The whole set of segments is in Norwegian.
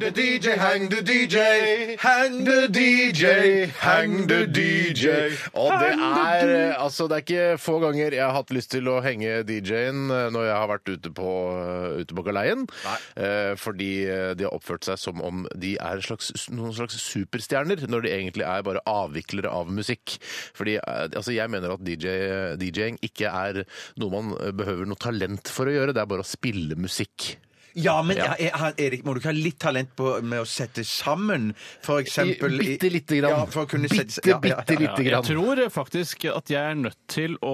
Hang the DJ, hang the DJ, hang the DJ, hang the DJ. Og det er eh, altså det er ikke få ganger jeg har hatt lyst til å henge DJ-en eh, når jeg har vært ute på, eh, ute på galeien. Eh, fordi eh, de har oppført seg som om de er en slags, noen slags superstjerner, når de egentlig er bare avviklere av musikk. Fordi eh, altså jeg mener at DJ, DJ-ing ikke er noe man eh, behøver noe talent for å gjøre, det er bare å spille musikk. Ja, men Ja. Er, er, Erik, må du ikke ha litt talent på, med å sette sammen, for eksempel i- Bitte lite grann. Ja, for å kunne sette, bitte, bitte lite Ja, jeg grann. tror faktisk at jeg er nødt til å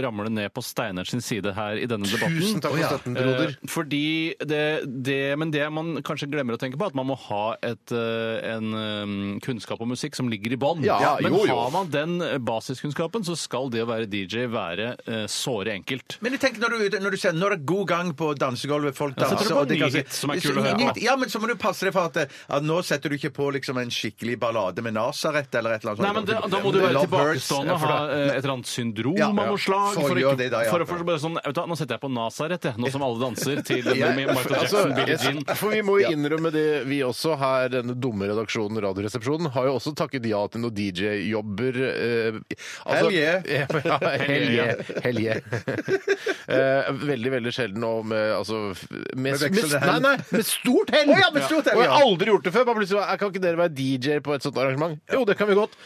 ramle ned på Steinar sin side her i denne debatten. Tusen takk for støtten, broder. Eh, Fordi det, det, men det man kanskje glemmer å tenke på, er at man må ha et, eh, en eh, kunnskap om musikk som ligger i bånn. Ja, men jo, jo. har man den eh, basiskunnskapen, så skal det å være DJ være eh, såre enkelt. Men jeg tenker når du, er ute- når du ser når det er god gang på dansegulvet, folk Ja, setter danser du på og det en kan ny si- hit som er kul å høre Ny- på. Ja, men så må du passe deg for at, eh, at nå setter du ikke på liksom en skikkelig ballade med Nazaret eller et eller annet Nei, men det, Da må du være Lovebirds, tilbakestående ja, og for ha da- eh, et eller annet syndrom Ja, av ja. noe slag. For å ikke- gjøre det, da, ja. for å- for å bare sånn, vet du, hva, Nå setter jeg på Nazaret, jeg, nå som alle danser til Ja, med Michael altså, Jackson, Billie Jean. jeg- for Vi må jo innrømme det, vi også her, denne dumme redaksjonen, Radioresepsjonen, har jo også takket ja til noen DJ-jobber. Eh, altså, Hell yeah. Ja, ja, hell yeah. Hell yeah. eh, veldig, veldig sjelden og med altså med, Med vekslende nei, hell. nei, med stort hell! Å ja, med stort hell, Og jeg har ja. aldri gjort det før. Bare plutselig, "Jeg Kan ikke dere være DJ på et sånt arrangement? Jo, det kan vi godt.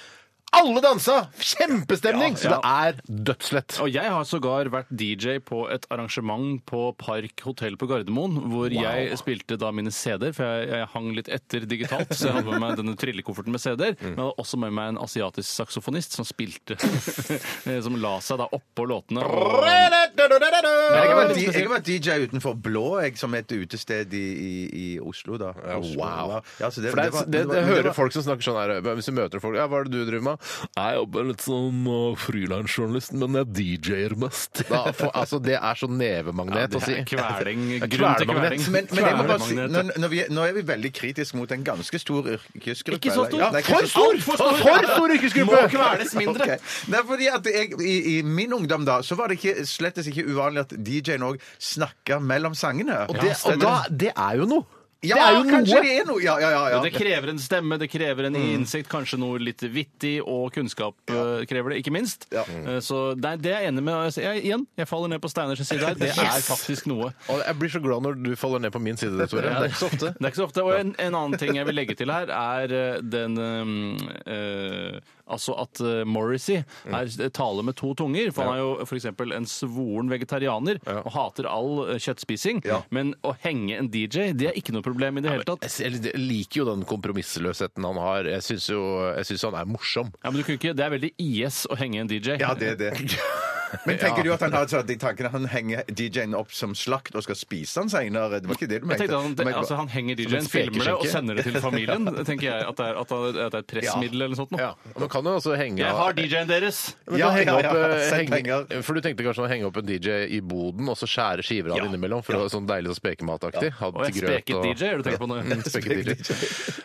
Alle dansa! Kjempestemning! Så det er dødslett. Og jeg har sågar vært DJ på et arrangement på Park hotell på Gardermoen, hvor jeg spilte da mine CD-er, for jeg, jeg hang litt etter digitalt, så jeg hadde med meg denne trillekofferten med Mm. CD-er, men jeg hadde også med meg en asiatisk saksofonist som spilte, eh, som la seg da oppå låtene. Og, Jeg har, vært, jeg har vært DJ utenfor Blå, jeg, som et utested i, i, i Oslo, da. Oslo, Wow. ja. Ja, så det, For det, det var- det, det, det var- hører det var- folk som snakker sånn her Hvis du møter folk Ja, hva er det du driver med? Jeg jobber litt som uh, frilansjournalist, men jeg DJ-er mest. Da, for, altså, det er så ja, nevemagnet det å si. er kveling, Det er grunn til kvelemagnet. kveling. Men, men jeg må bare si, Kvelemagnet. nå, nå, vi, nå er vi veldig kritiske mot en ganske stor yrkesgruppe. Ikke så stor. eller? Ja, det er ikke For så stor! For stor, for stor yrkesgruppe! Må kveles mindre. Ok. Nei, fordi at jeg, i, I min ungdom da, så var det ikke, slettes ikke uvanlig at DJ-en òg snakka mellom sangene. Og det, og da, det er jo noe. ja, det er jo kanskje noe. det er noe! Ja, ja, ja. ja. Mm. Ja, det krever en stemme, det krever en innsikt, kanskje noe litt vittig, og kunnskap eh, krever det, ikke minst. Ja. Eh, Så nei, det er jeg enig med. Altså, Jeg, igjen, jeg faller ned på Steiners side her. Det er faktisk noe. Og jeg blir så glad når du faller ned på min side, Tore. Det er ikke så ofte. Det er ikke så ofte. Og en, en annen ting jeg vil legge til her, er eh, den eh, eh, Altså at eh, Morrissey Mm. er, eh, taler med to tunger. For han er jo f.eks. en svoren vegetarianer og hater all eh, kjøttspising. Ja. Men å henge en DJ, det er ikke noe problem i det hele tatt. Jeg s- Jeg liker jo den kompromissløsheten han har. Jeg syns jo jeg synes han er morsom. Ja, men du kunne ikke, Det er veldig IS å henge en DJ. Ja, det er det. Men tenker du at han har sånn, de tankene han henger DJ-en opp som slakt og skal spise han seinere? Det var ikke det du Jeg mente? tenkte at han, Men- altså, han henger Som en DJ-en, filmer det og spekeskjenke. sender det til familien. tenker jeg At det er, at det er- at det er et pressmiddel eller noe sånt. nå. Ja. Man kan jo altså henge Jeg har DJ-en deres! Men Ja, kan henge ja, ja. opp, eh, Send henge, penger. for du tenkte kanskje å henge opp en DJ i boden og så skjære skiver av det innimellom for å sånn deilig og spekemataktig. Ha Og til en grøt speket og- DJ, er det du tenker på nå? Mm, Speket DJ.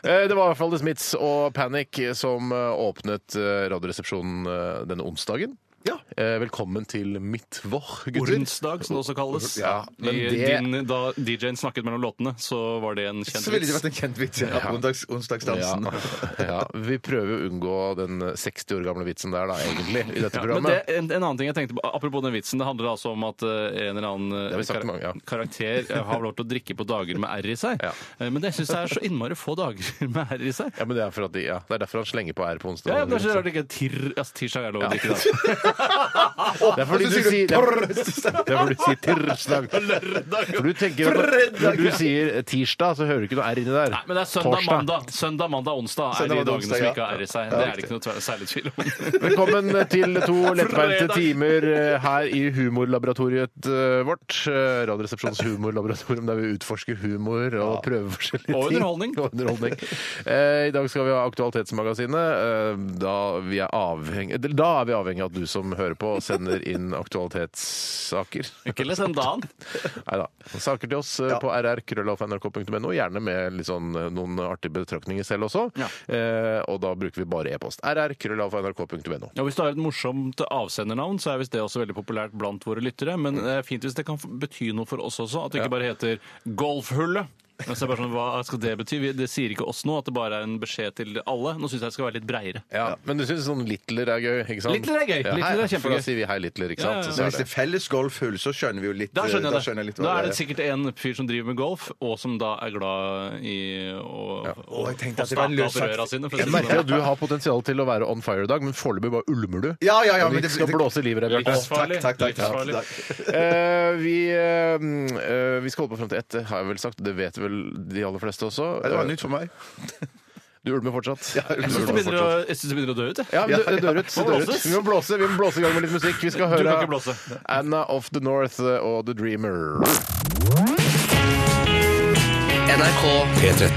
Eh, Det var i hvert fall The Smiths og Panic som eh, åpnet eh, Radioresepsjonen eh, denne onsdagen. Ja. Eh, Velkommen til Midtvår, gutter. Ordensdag, som det også kalles. Ja, men I det- din, da DJ-en snakket mellom låtene, så var det en kjent Så ville det vits. vært en kjent vits. Ja. Onsdags, onsdagsdansen. Ja, ja, vi prøver å unngå den 60 år gamle vitsen der, da, egentlig, i dette Ja, men programmet. det, en, en annen ting jeg tenkte på, Apropos den vitsen. Det handler altså om at eh, en eller annen eh, Det har vi sagt kar- mange, ja. karakter eh, har lov til å drikke på dager med R i seg. Ja. Eh, Men det syns jeg er så innmari få dager med R i seg. Ja, men det er, for at de, ja, det er derfor han slenger på R på onsdag. Ja, ja, det er så rart det ikke er tirr. Altså, tirsdag er lov å drikke da. Det er fordi du sier det er- det er fordi du sier tirsdag. For du tenker at når du sier tirsdag, så hører du ikke noe R inni der. Nei, men det er søndag, Torsdag. mandag. Søndag, mandag, onsdag er Søndag, de mandag, dagene onsdag, som ja. ikke har R i seg. Det er det ikke noe tve- særlig tvil om. Velkommen til to lettbeinte Fredag. timer eh, her i humorlaboratoriet eh, vårt. eh, Radioresepsjonens humorlaboratorium der vi utforsker humor og prøver forskjellige ting. Og underholdning. Og underholdning. Eh, I dag skal vi ha Aktualitetsmagasinet. eh, Da, vi er avhengig, da er vi avhengig av at du som hører hører på og sender inn aktualitetssaker. Ikke les en annen. Nei da. Saker til oss eh, på rrkrøllalfa.nrk.no. Gjerne med litt sånn, eh, noen artige betraktninger selv også. Ja. Eh, og da bruker vi bare e-post. rrkrøllalfa.nrk.no. Ja, Hvis du har et morsomt avsendernavn, så er visst det også veldig populært blant våre lyttere. Men det er fint hvis det kan f- bety noe for oss også, at det ikke bare heter 'Golfhullet'. Men så er det bare sånn, Hva skal det bety? Vi- Det sier ikke oss noe, at det bare er en beskjed til alle. Nå syns jeg det skal være litt breiere. Ja, Men du syns sånn Littler er gøy? ikke sant? Littler er gøy. Ja, Littler er hei, For kjempegøy. da sier vi hei, Littler, ikke Ja, ja, sant? ja. Så Men er hvis det er felles golfhull, så skjønner vi jo litt Da skjønner jeg da det. skjønner jeg litt hva da er det det sikkert en fyr som driver med golf, og som da er glad i å Å, jeg tenkte få at det var en stape opp løssak- røra sine. For å si Jeg det merker sånn. at du har potensial til å være on fire i dag, men foreløpig bare ulmer du. Ja, ja, ja, Og men vi det- skal det- blåse livet i deg. Å, takk, takk, takk, takk, Livsfarlig. takk. Eh, vi, eh, mm, eh, vi skal holde på frem til ett, det har jeg vel sagt. Det vet vel de aller fleste også. Eh, Det var nytt for meg. Du ulmer fortsatt. Du Jeg syns det ulmer begynner fortsatt. å- jeg synes det begynner å dø ut, jeg. Ja, men det- det dør ut. Må det dør ut. blåses. Vi må blåse Vi må blåse i gang med litt musikk. Vi skal høre kan ikke blåse. Anna of the North og The Dreamer. NRK P13.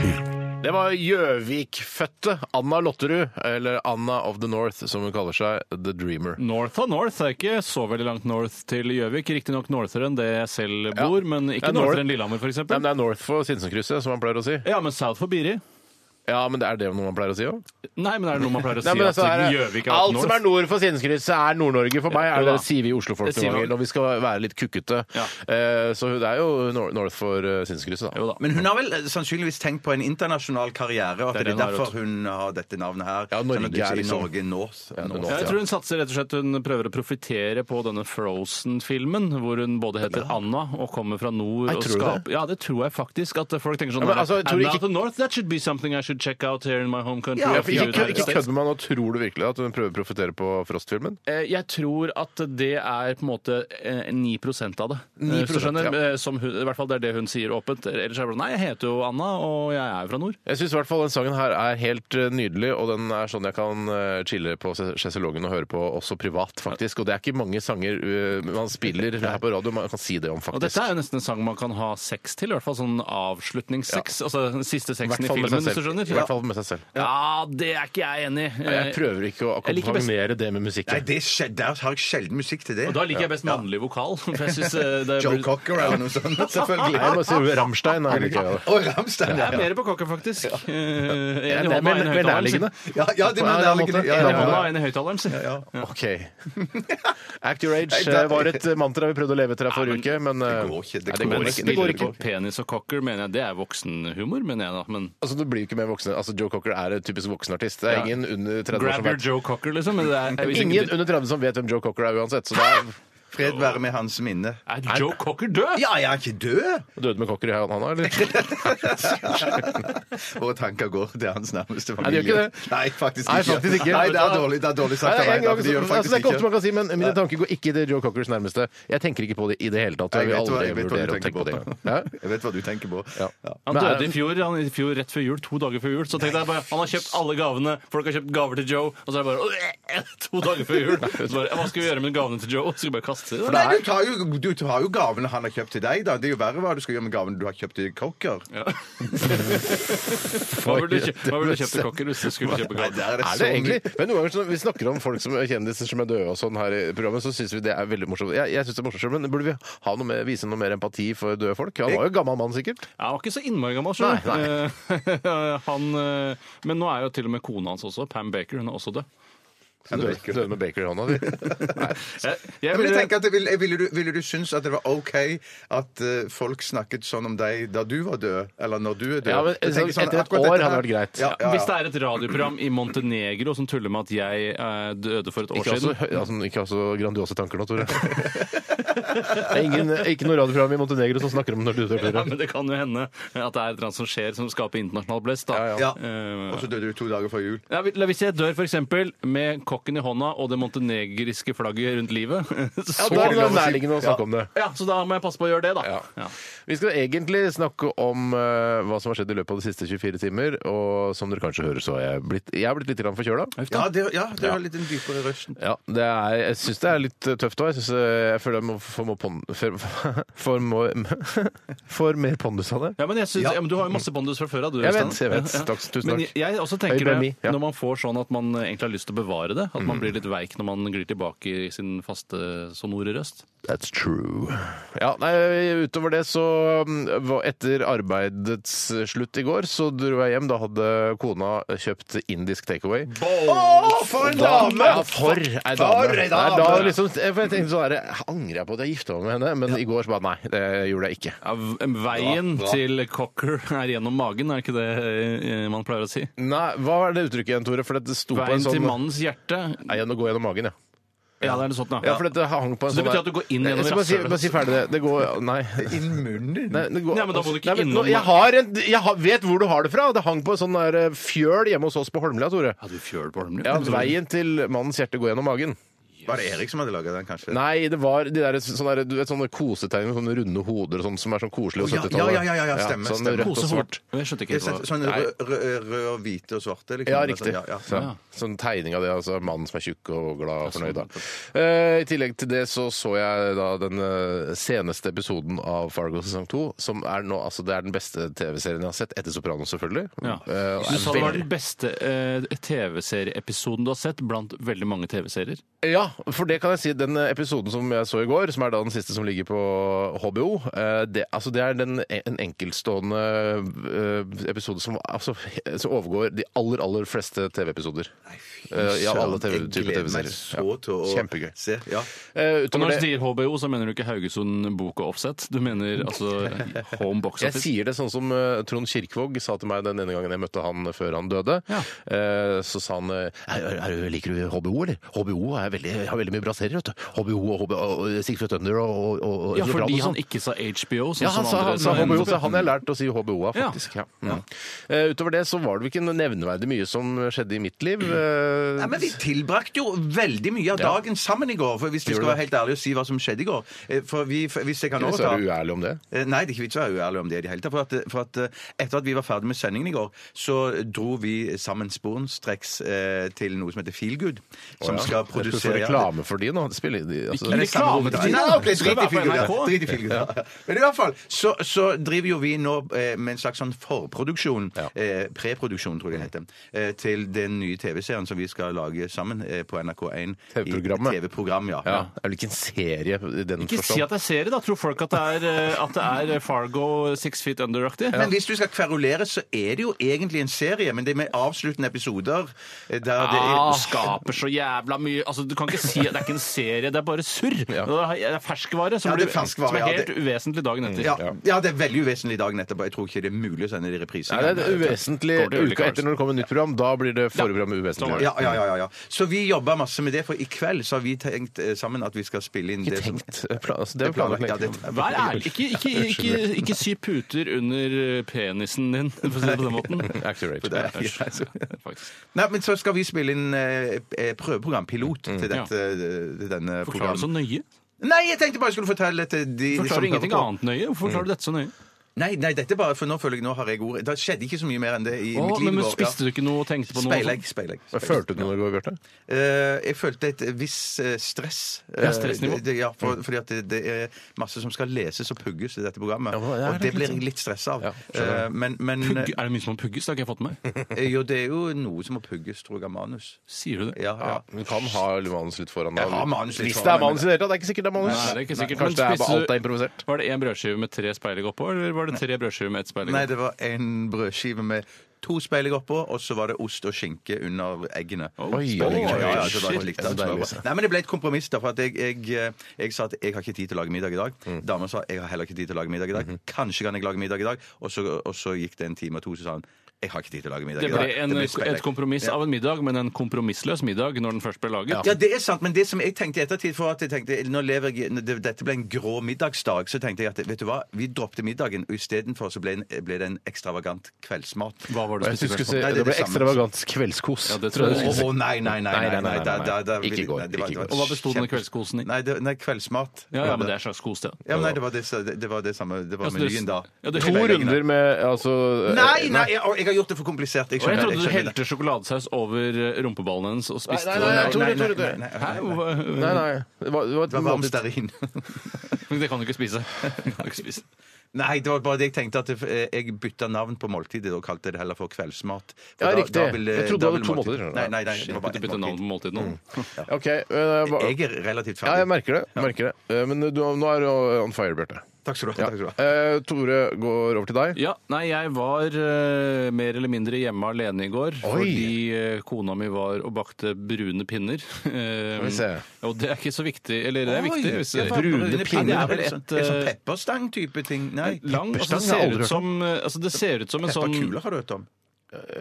Det var Gjøvik-fødte Anna Lotterud, eller Anna of the North, som hun kaller seg. The Dreamer. North og North er ikke så veldig langt north til Gjøvik. Riktignok northere enn det jeg selv bor, men Det er ikke northere north. enn Lillehammer, f.eks. Nei, men det er North for Sinsenkrysset, som man pleier å si. Ja, men south for Biri? Ja, men det er det noe man pleier å si òg? Nei, men er det noe man pleier å si Nei, men at altså, er, Gjøvik er alt alt som er north? nord for Sinsenkrysset, er Nord-Norge for meg. Ja, Er jo da. det sier vi oslofolk Det sier noen vi. ganger når vi skal være litt kukkete. Ja. Eh, Så det er jo nor- north for eh, Sinsenkrysset, da. Jo da. Men hun har vel eh, sannsynligvis tenkt på en internasjonal karriere, og at Det det er er det hun har derfor hun har dette navnet her. Ja, Norge sånn at du er sier liksom- Norge North. Ja, North. North, Jeg tror hun satser rett og slett Hun prøver å profitere på denne Frozen-filmen, hvor hun både heter Anna og kommer fra nord. Nei, og tror du skaper- Ja, det tror jeg faktisk. At folk tenker Ja, sånn men altså, jeg tror Anna ikke- of the North, that should be something I should check out here in my home country. Ja, of for the ikke kødd- United ikke States. kødd med meg nå. Tror du virkelig at hun prøver å profitere på Frost-filmen? Eh, Jeg tror at det er på en måte eh, 9 av det. 9%, Hvis du skjønner, ja. eh, som hun, I hvert fall det er det hun sier åpent. Ellers er det bare sånn, Nei, jeg heter jo Anna, og jeg er jo fra nord. Jeg syns i hvert fall den sangen her er helt eh, nydelig, og den er sånn jeg kan eh, chille på ses- sjeselongen og høre på også privat, faktisk. Og det er ikke mange sanger eh, man spiller her på radio man kan si det om, Og faktisk. dette er jo nesten en sang man kan ha sex til. I hvert fall sånn avslutningssex. Altså den siste I hvert sexen i fall med filmen, seg hvis du selv. skjønner. I hvert fall med seg selv. Ja, det er ikke jeg enig i. Jeg prøver ikke å Jeg liker best- akkompagnere det med musikken. Nei, det skje, der har jeg sjelden musikk til det. Og da liker jeg best mannlig vokal. For jeg synes eh, det Joe blir- Cocker eller noe sånt, selvfølgelig. Nei, jeg må si Rammstein. Er like, ja. Og Rammstein, Jeg er ja. mer på kokker, faktisk. Eh, Ja, En i det er hånda, mer- en i mer høyttaleren. sin. nærliggende. Ja, ja, det På en mener eller jeg annen liker det. måte. Ja, En i ja, hånda, ja. en i høyttaleren. sin. OK. Act your age Nei, eh, det- var et mantra vi prøvde å leve etter her forrige uke, men eh, Det går ikke, det nei, går Hvor ikke. ikke. spiller ikke penis og cocker, mener jeg. Det er voksenhumor, mener jeg da. Men Altså, du blir jo ikke mer voksen. Altså, Joe Cocker er en typisk voksenartist. Det er Ja. ingen under 30 år grab som your vet Joe Cocker, liksom. Men det er, jeg visste ikke- Ingen under 30 som vet hvem Joe Cocker er uansett. Så det er Fred være med hans minne. er Joe Cocker død? Ja, jeg er ikke død! døde med Cocker i han, han eller? Våre tanker går til hans nærmeste Nei, familie. det gjør ikke det. Nei, faktisk Nei, ikke. faktisk ikke. Nei, det er dårlig, det er dårlig sagt Nei, en av gang, så- meg. da, for Det gjør det altså, det er ikke faktisk ofte ikke. man kan si, men mine tanker går ikke til Joe Cockers nærmeste. Jeg tenker ikke på det i det hele tatt. og Jeg vil Jeg vet hva- aldri jeg vet hva du vurdere å tenke tenker på det på. engang. Ja? Jeg vet hva du tenker på. Ja. Ja. Han Men er- døde i fjor, han i fjor rett før jul, to dager før jul. Så tenkte jeg bare, Han har kjøpt alle gavene, folk har kjøpt gaver til Joe, og så er det bare øh, to dager før jul. Så bare, Hva skal vi gjøre med gavene til Joe? Skal vi bare kaste dem? Nei, du tar, jo, du tar jo gavene han har kjøpt til deg, da. Det er jo verre hva du skal gjøre med gavene du har kjøpt til Cocker. Ja. Hva ville du kjøpt, hva ville du kjøpt til kokker hvis du skulle kjøpe Nei, der gave? er det Er så det mye egentlig? Men noen ganger så når vi snakker om folk som er kjendiser som er døde og sånn her i programmet, så syns vi det er veldig morsomt. Jeg, jeg synes det er morsomt selv, men burde vi ha noe mer, vise noe mer empati for døde folk? Han var jo gammel mann, sikkert. Ja, Han var ikke så innmari gammel. skjønner du. Eh, han, eh, men nå er jo til og med kona hans også, Pam Baker, hun er også død. Døde, døde med Baker i hånda di. Jeg, Ja, jeg men jeg ville- tenker at ville, ville, du, ville du synes at det var OK at eh, folk snakket sånn om deg da du var død? Eller når du er død? Ja, men sånn Jeg tenker sånn etter et akkurat dette år hadde her- vært greit. Ja, ja, ja. Hvis det er et radioprogram i Montenegro som tuller med at jeg eh, døde for et år Ikke ha så, siden hø- altså, ikke ha så grandiose tanker nå, Tore. Det er ingen, ikke noe radioprogram i Montenegro som snakker om når du dør, ja, Tore. men Det kan jo hende at det er et eller annet som skjer som skaper internasjonal blest. Da. Ja, ja. Eh, Og så døde du to dager før jul. ja, hvis- Hvis jeg dør for eksempel, med kokken i hånda og det montenegriske flagget rundt livet Ja, så, da er det ja, nærliggende å snakke om det. så da må jeg passe på å gjøre det, da. Ja. Ja. Vi skal egentlig snakke om eh, hva som har skjedd i løpet av de siste 24 timer. Og som dere kanskje hører, så har jeg blitt, jeg har blitt litt grann forkjøla. Ja, det, ja, det var litt en dypere røst. Ja, det er, jeg syns det er litt eh, tøft òg. Jeg, synes, eh, jeg føler jeg må formår pon- fer- formår- Får mer pondus av det. Ja, men, jeg synes, ja. men Du har jo masse pondus fra før av. du, Jeg vet, jeg Øystein. vet. Ja, ja. Takk, tusen Men takk. jeg- jeg også Høy tenker BMI, det, ja. Når man får sånn at man egentlig har lyst til å bevare det, at Mm. man blir litt veik når man glir tilbake i sin faste sonore røst. That's true. Ja, nei, utover det så mm, var- Etter arbeidets slutt i går, så dro jeg hjem. Da hadde kona kjøpt indisk takeaway. Å, for en Da- dame! Ja, for ei dame! For ei dame! Nei, Da, liksom, for jeg tenkte sånn her, Angrer jeg på at jeg gifta meg med henne? Men i går så bare nei, det gjorde jeg ikke. Ja, v- veien til cocker er gjennom magen, er ikke det eh, man pleier å si? Nei, Hva er det uttrykket igjen, Tore? For det sto på en Veien til sånn mannens hjerte? Nei, gjennom- gå gjennom magen, ja. Ja, det er noe sånt, Ja, for dette hang på en Så sånn det betyr der- at du går inn Nei, gjennom altså? jeg skal bare si- rasshølet? Bare si ferdig det. Det går Nei. Innen munnen din? Nei, det går, Nei, men da må du ikke Nei, men innom- nå, jeg, har en, jeg har, vet hvor du har det fra. Det hang på en sånn der eh, fjøl hjemme hos oss på Holmlia, Tore. Hadde du fjøl på armen? Ja, Veien til mannens hjerte går gjennom magen. Var det Erik som hadde laga den, kanskje? Nei, det var de der, sånne, der, du vet, sånne kosetegn med sånne runde hoder og sånn, som er sånn koselig. Å, ja, ja, ja, ja, ja, stemmer, sånn stemmer. rødt og svart. Jeg skjønte ikke Jeg helt hva sett- Sånn Nei. rød, rød, rød og hvite og svarte? Liksom. Ja, riktig. Ja, ja. Så, sånn tegning av det. altså Mannen som er tjukk og glad og Ja, sånn. fornøyd. Da. Eh, I tillegg til det så så jeg da den eh, seneste episoden av Fargo sesong 2, som er nå altså det er den beste TV-serien jeg har sett, etter Sopranos selvfølgelig. Ja. Eh, og Du er sa det var den veldig- beste eh, TV-serieepisoden du har sett blant veldig mange TV-serier. Ja, for det kan jeg si. Den episoden som jeg så i går, som er da den siste som ligger på HBO, eh, det, altså det er den, en enkeltstående eh, episode som altså, som overgår de aller, aller fleste TV-episoder. Eh, Ja, alle TV Jeg typer gleder meg TV-serier. så til å Ja. Kjempegøy. se. Ja. Eh, Og utover når det- du sier HBO, så mener du ikke Haugesund Bok og Offset. Du mener altså Home Box Jeg Office. sier det sånn som eh, Trond Kirkvåg sa til meg den ene gangen jeg møtte han før han døde. Ja. Eh, så sa han eh, er, er, du- Liker du HBO, eller? HBO er veldig, har veldig mye bra serier, vet du. HBO og, HBO, og, og Sigfrid eh, Thunder og, og, og Ja, Sopranos fordi og han sånn. ikke sa HBO. Sånn ja, han som sa, andre, han, sa som- HBO, så han har jeg lært å si HBO av, faktisk. Ja. Mm. Eh, utover det så var det vel ikke noe nevneverdig mye som skjedde i mitt liv. eh, Nei, men Vi tilbrakte jo veldig mye av dagen sammen i går, for hvis vi skal være helt ærlige og si hva som skjedde i går. eh, For vi, for, hvis jeg kan Ikke hvis du overta er uærlig om det. Eh, Nei, det er ikke vits å være uærlig om det i det hele tatt. For, at, for at eh, etter at vi var ferdig med sendingen i går, så dro vi sammen sporenstreks eh, til noe som heter Feelgood, som Å, ja. skal Jeg tror du produsere får reklame for de nå. Det spiller, de, altså, Ikke Nei, samme Reklame hovedvei. til de, da. Nei, ok, Drit Skal i være på Feelgood. NRK. ja. Drit i Feelgood, ja. Men i hvert fall så, så driver jo vi nå eh, med en slags sånn forproduksjon, Ja. eh, preproduksjon tror jeg det heter, eh, til den nye TV-serien som vi skal lage sammen eh, på NRK1. i- TV-programmet. TV-program, ja. ja, det er vel ikke en serie i den Ikke si forstand. at det er serie, da. Tror folk at det er, eh, at det er Fargo Six Feet Under-aktig? Men hvis du skal kverulere, så er det jo egentlig en serie, men det er med avsluttende episoder eh, der det Ah, er skaper så jævla mye altså, Du kan ikke si at det er ikke en serie, det er bare surr. Det er ferskvare som, Ja, det er blir- ferskvare, som er ja, helt det- uvesentlig dagen etter. ja, ja, det er veldig uvesentlig dagen etterpå. Jeg tror ikke det er mulig å sende det i reprise. Nei, det er uvesentlig Går til Ulrik uka etter når det kommer nytt program. Da blir det forrige programmet sånn uvesentlig. var ja, ja, ja, ja, ja. Så vi jobber masse med det, for i kveld så har vi tenkt eh, sammen at vi skal spille inn Ikke det som tenkt. Plan, altså, det er planlagt. Ja, det, Vær ærlig. Ikke, ikke, ikke, ikke sy puter under eh, penisen din, for å si det på den måten. Accurate. det er- Æsj. Faktisk. Nei, men så skal vi spille inn eh, eh, prøveprogram, pilot, Mm. til dette, eh, til denne Forklarer du så programmet. nøye? Nei, jeg tenkte bare jeg skulle fortelle til de de som sånn. Forklarer du hører på. ingenting Mm. annet nøye? Hvorfor forklarer du dette så nøye? Nei, nei, dette er bare, for nå føler jeg nå har jeg ordet. Det skjedde ikke så mye mer enn det i Å, mitt liv. men, i men går, ja. Spiste du ikke noe og tenkte på noe? Speilegg, speilegg. speilegg. Følte du noe i går, Bjarte? Eh, jeg følte et visst eh, stress. Ja, stressnivå. Mm. Eh, det- Ja, for, fordi at det, det er masse som skal leses og pugges i dette programmet. Ja, hva er og det det blir liksom? jeg litt stressa av. Ja, skjønner. Eh, men men Pugge- sånn? Er det mye som må pugges? Det har ikke jeg fått med meg. eh, jo, det er jo noe som må pugges, tror jeg, av manus. Sier du det? Ja, ja. Du kan ha manus litt foran Jeg har manus litt Hvis foran det er meg, manus i det hele tatt, det er ikke sikkert det er manus. Nei, det er ikke sikkert. Men Kanskje det er spiser bare du- alt er improvisert. Var det én brødskive med tre speilegg oppå, eller var det tre brødskiver med ett speilegg? Nei, oppå? det var en brødskive med to speilegg oppå, og så var det ost og skinke under eggene. Oi, speilegg. oi, oi, Ja, ja, shit. det var jo likt, Det er så altså. deilig, Nei, men det ble et kompromiss. da, for at jeg, jeg, eh, jeg sa at jeg har ikke tid til å lage middag i dag. Mm. Dama sa jeg har heller ikke tid til å lage middag i dag. Mhm. Kanskje kan jeg lage middag i dag. Og så, og så gikk det en time og to, så sa han jeg har ikke tid til å lage middag Det i dag. ble en, blir spennende. et kompromiss av en middag, men en kompromissløs middag når den først ble laget. Ja, det er sant, men det som jeg tenkte i ettertid for at jeg tenkte, nå lever jeg, når det- Dette ble en grå middagsdag, så tenkte jeg at vet du hva, vi droppte middagen, og istedenfor så ble, en- ble det en ekstravagant kveldsmat. Hva var var Og det jeg synes du skulle si, Nei, spørsmål? det er det ble det samme. ekstravagant kveldskos. Ja, det Å tror jeg du skulle si. å, nei, nei, Nei, nei. nei, nei, nei, nei, da- nei. da- da- Ikke ville- går, nei, det var- ikke det går. var Og hva besto denne kjempe- kveldskosen i? Nei, det, nei, kveldsmat. Ja, ja, men det er en slags kos, det. Ja, men nei, det var det, det, det var det samme Det var Ja, så det- menyen da. ja, det- To runder med altså Nei, nei, jeg, jeg har gjort det for komplisert. Jeg Og jeg skjønner det. trodde du jeg skjønner det. helte sjokoladesaus over eh, rumpeballen hennes og spiste Nei, nei, nei, det. Tore, Tore, Tore. nei, Hæ? nei, nei. Hva- Nei, nei. Det var, det var Det var varm måltid. stearin. Men Det kan du ikke spise. Det kan du ikke spise. Nei, det var bare det jeg tenkte at eh, jeg bytta navn på måltidet og kalte det heller for kveldsmat. For Ja, riktig. Jeg trodde du hadde da ville to måltid- måltider, skjønner du. Nei, nei, nei, det var Bytte bare bytte ett navn måltid. Mm. på måltidet nå. OK. men, eh, Jeg er relativt Ja, jeg ferdig. merker det. Jeg merker det. Eh, Men du, nå er du on fire, Bjarte. Takk skal du ha. Ja. Takk skal du ha. Eh, Tore går over til deg. Ja, nei, jeg var eh, mer eller mindre hjemme alene i går Oi. fordi eh, kona mi var og bakte brune pinner. Skal vi se. Og det er ikke så viktig. Eller det er Oi, viktig. Hvis jeg får- brune Ja, pinner Det er er vel vel sånn- et det er sånn eh, pepperstang-type ting. Nei, lang altså, pepperstang, det, jeg har aldri ser hørt ut som, eh, altså, det ser ut som en sånn pepperkuler har du hørt om.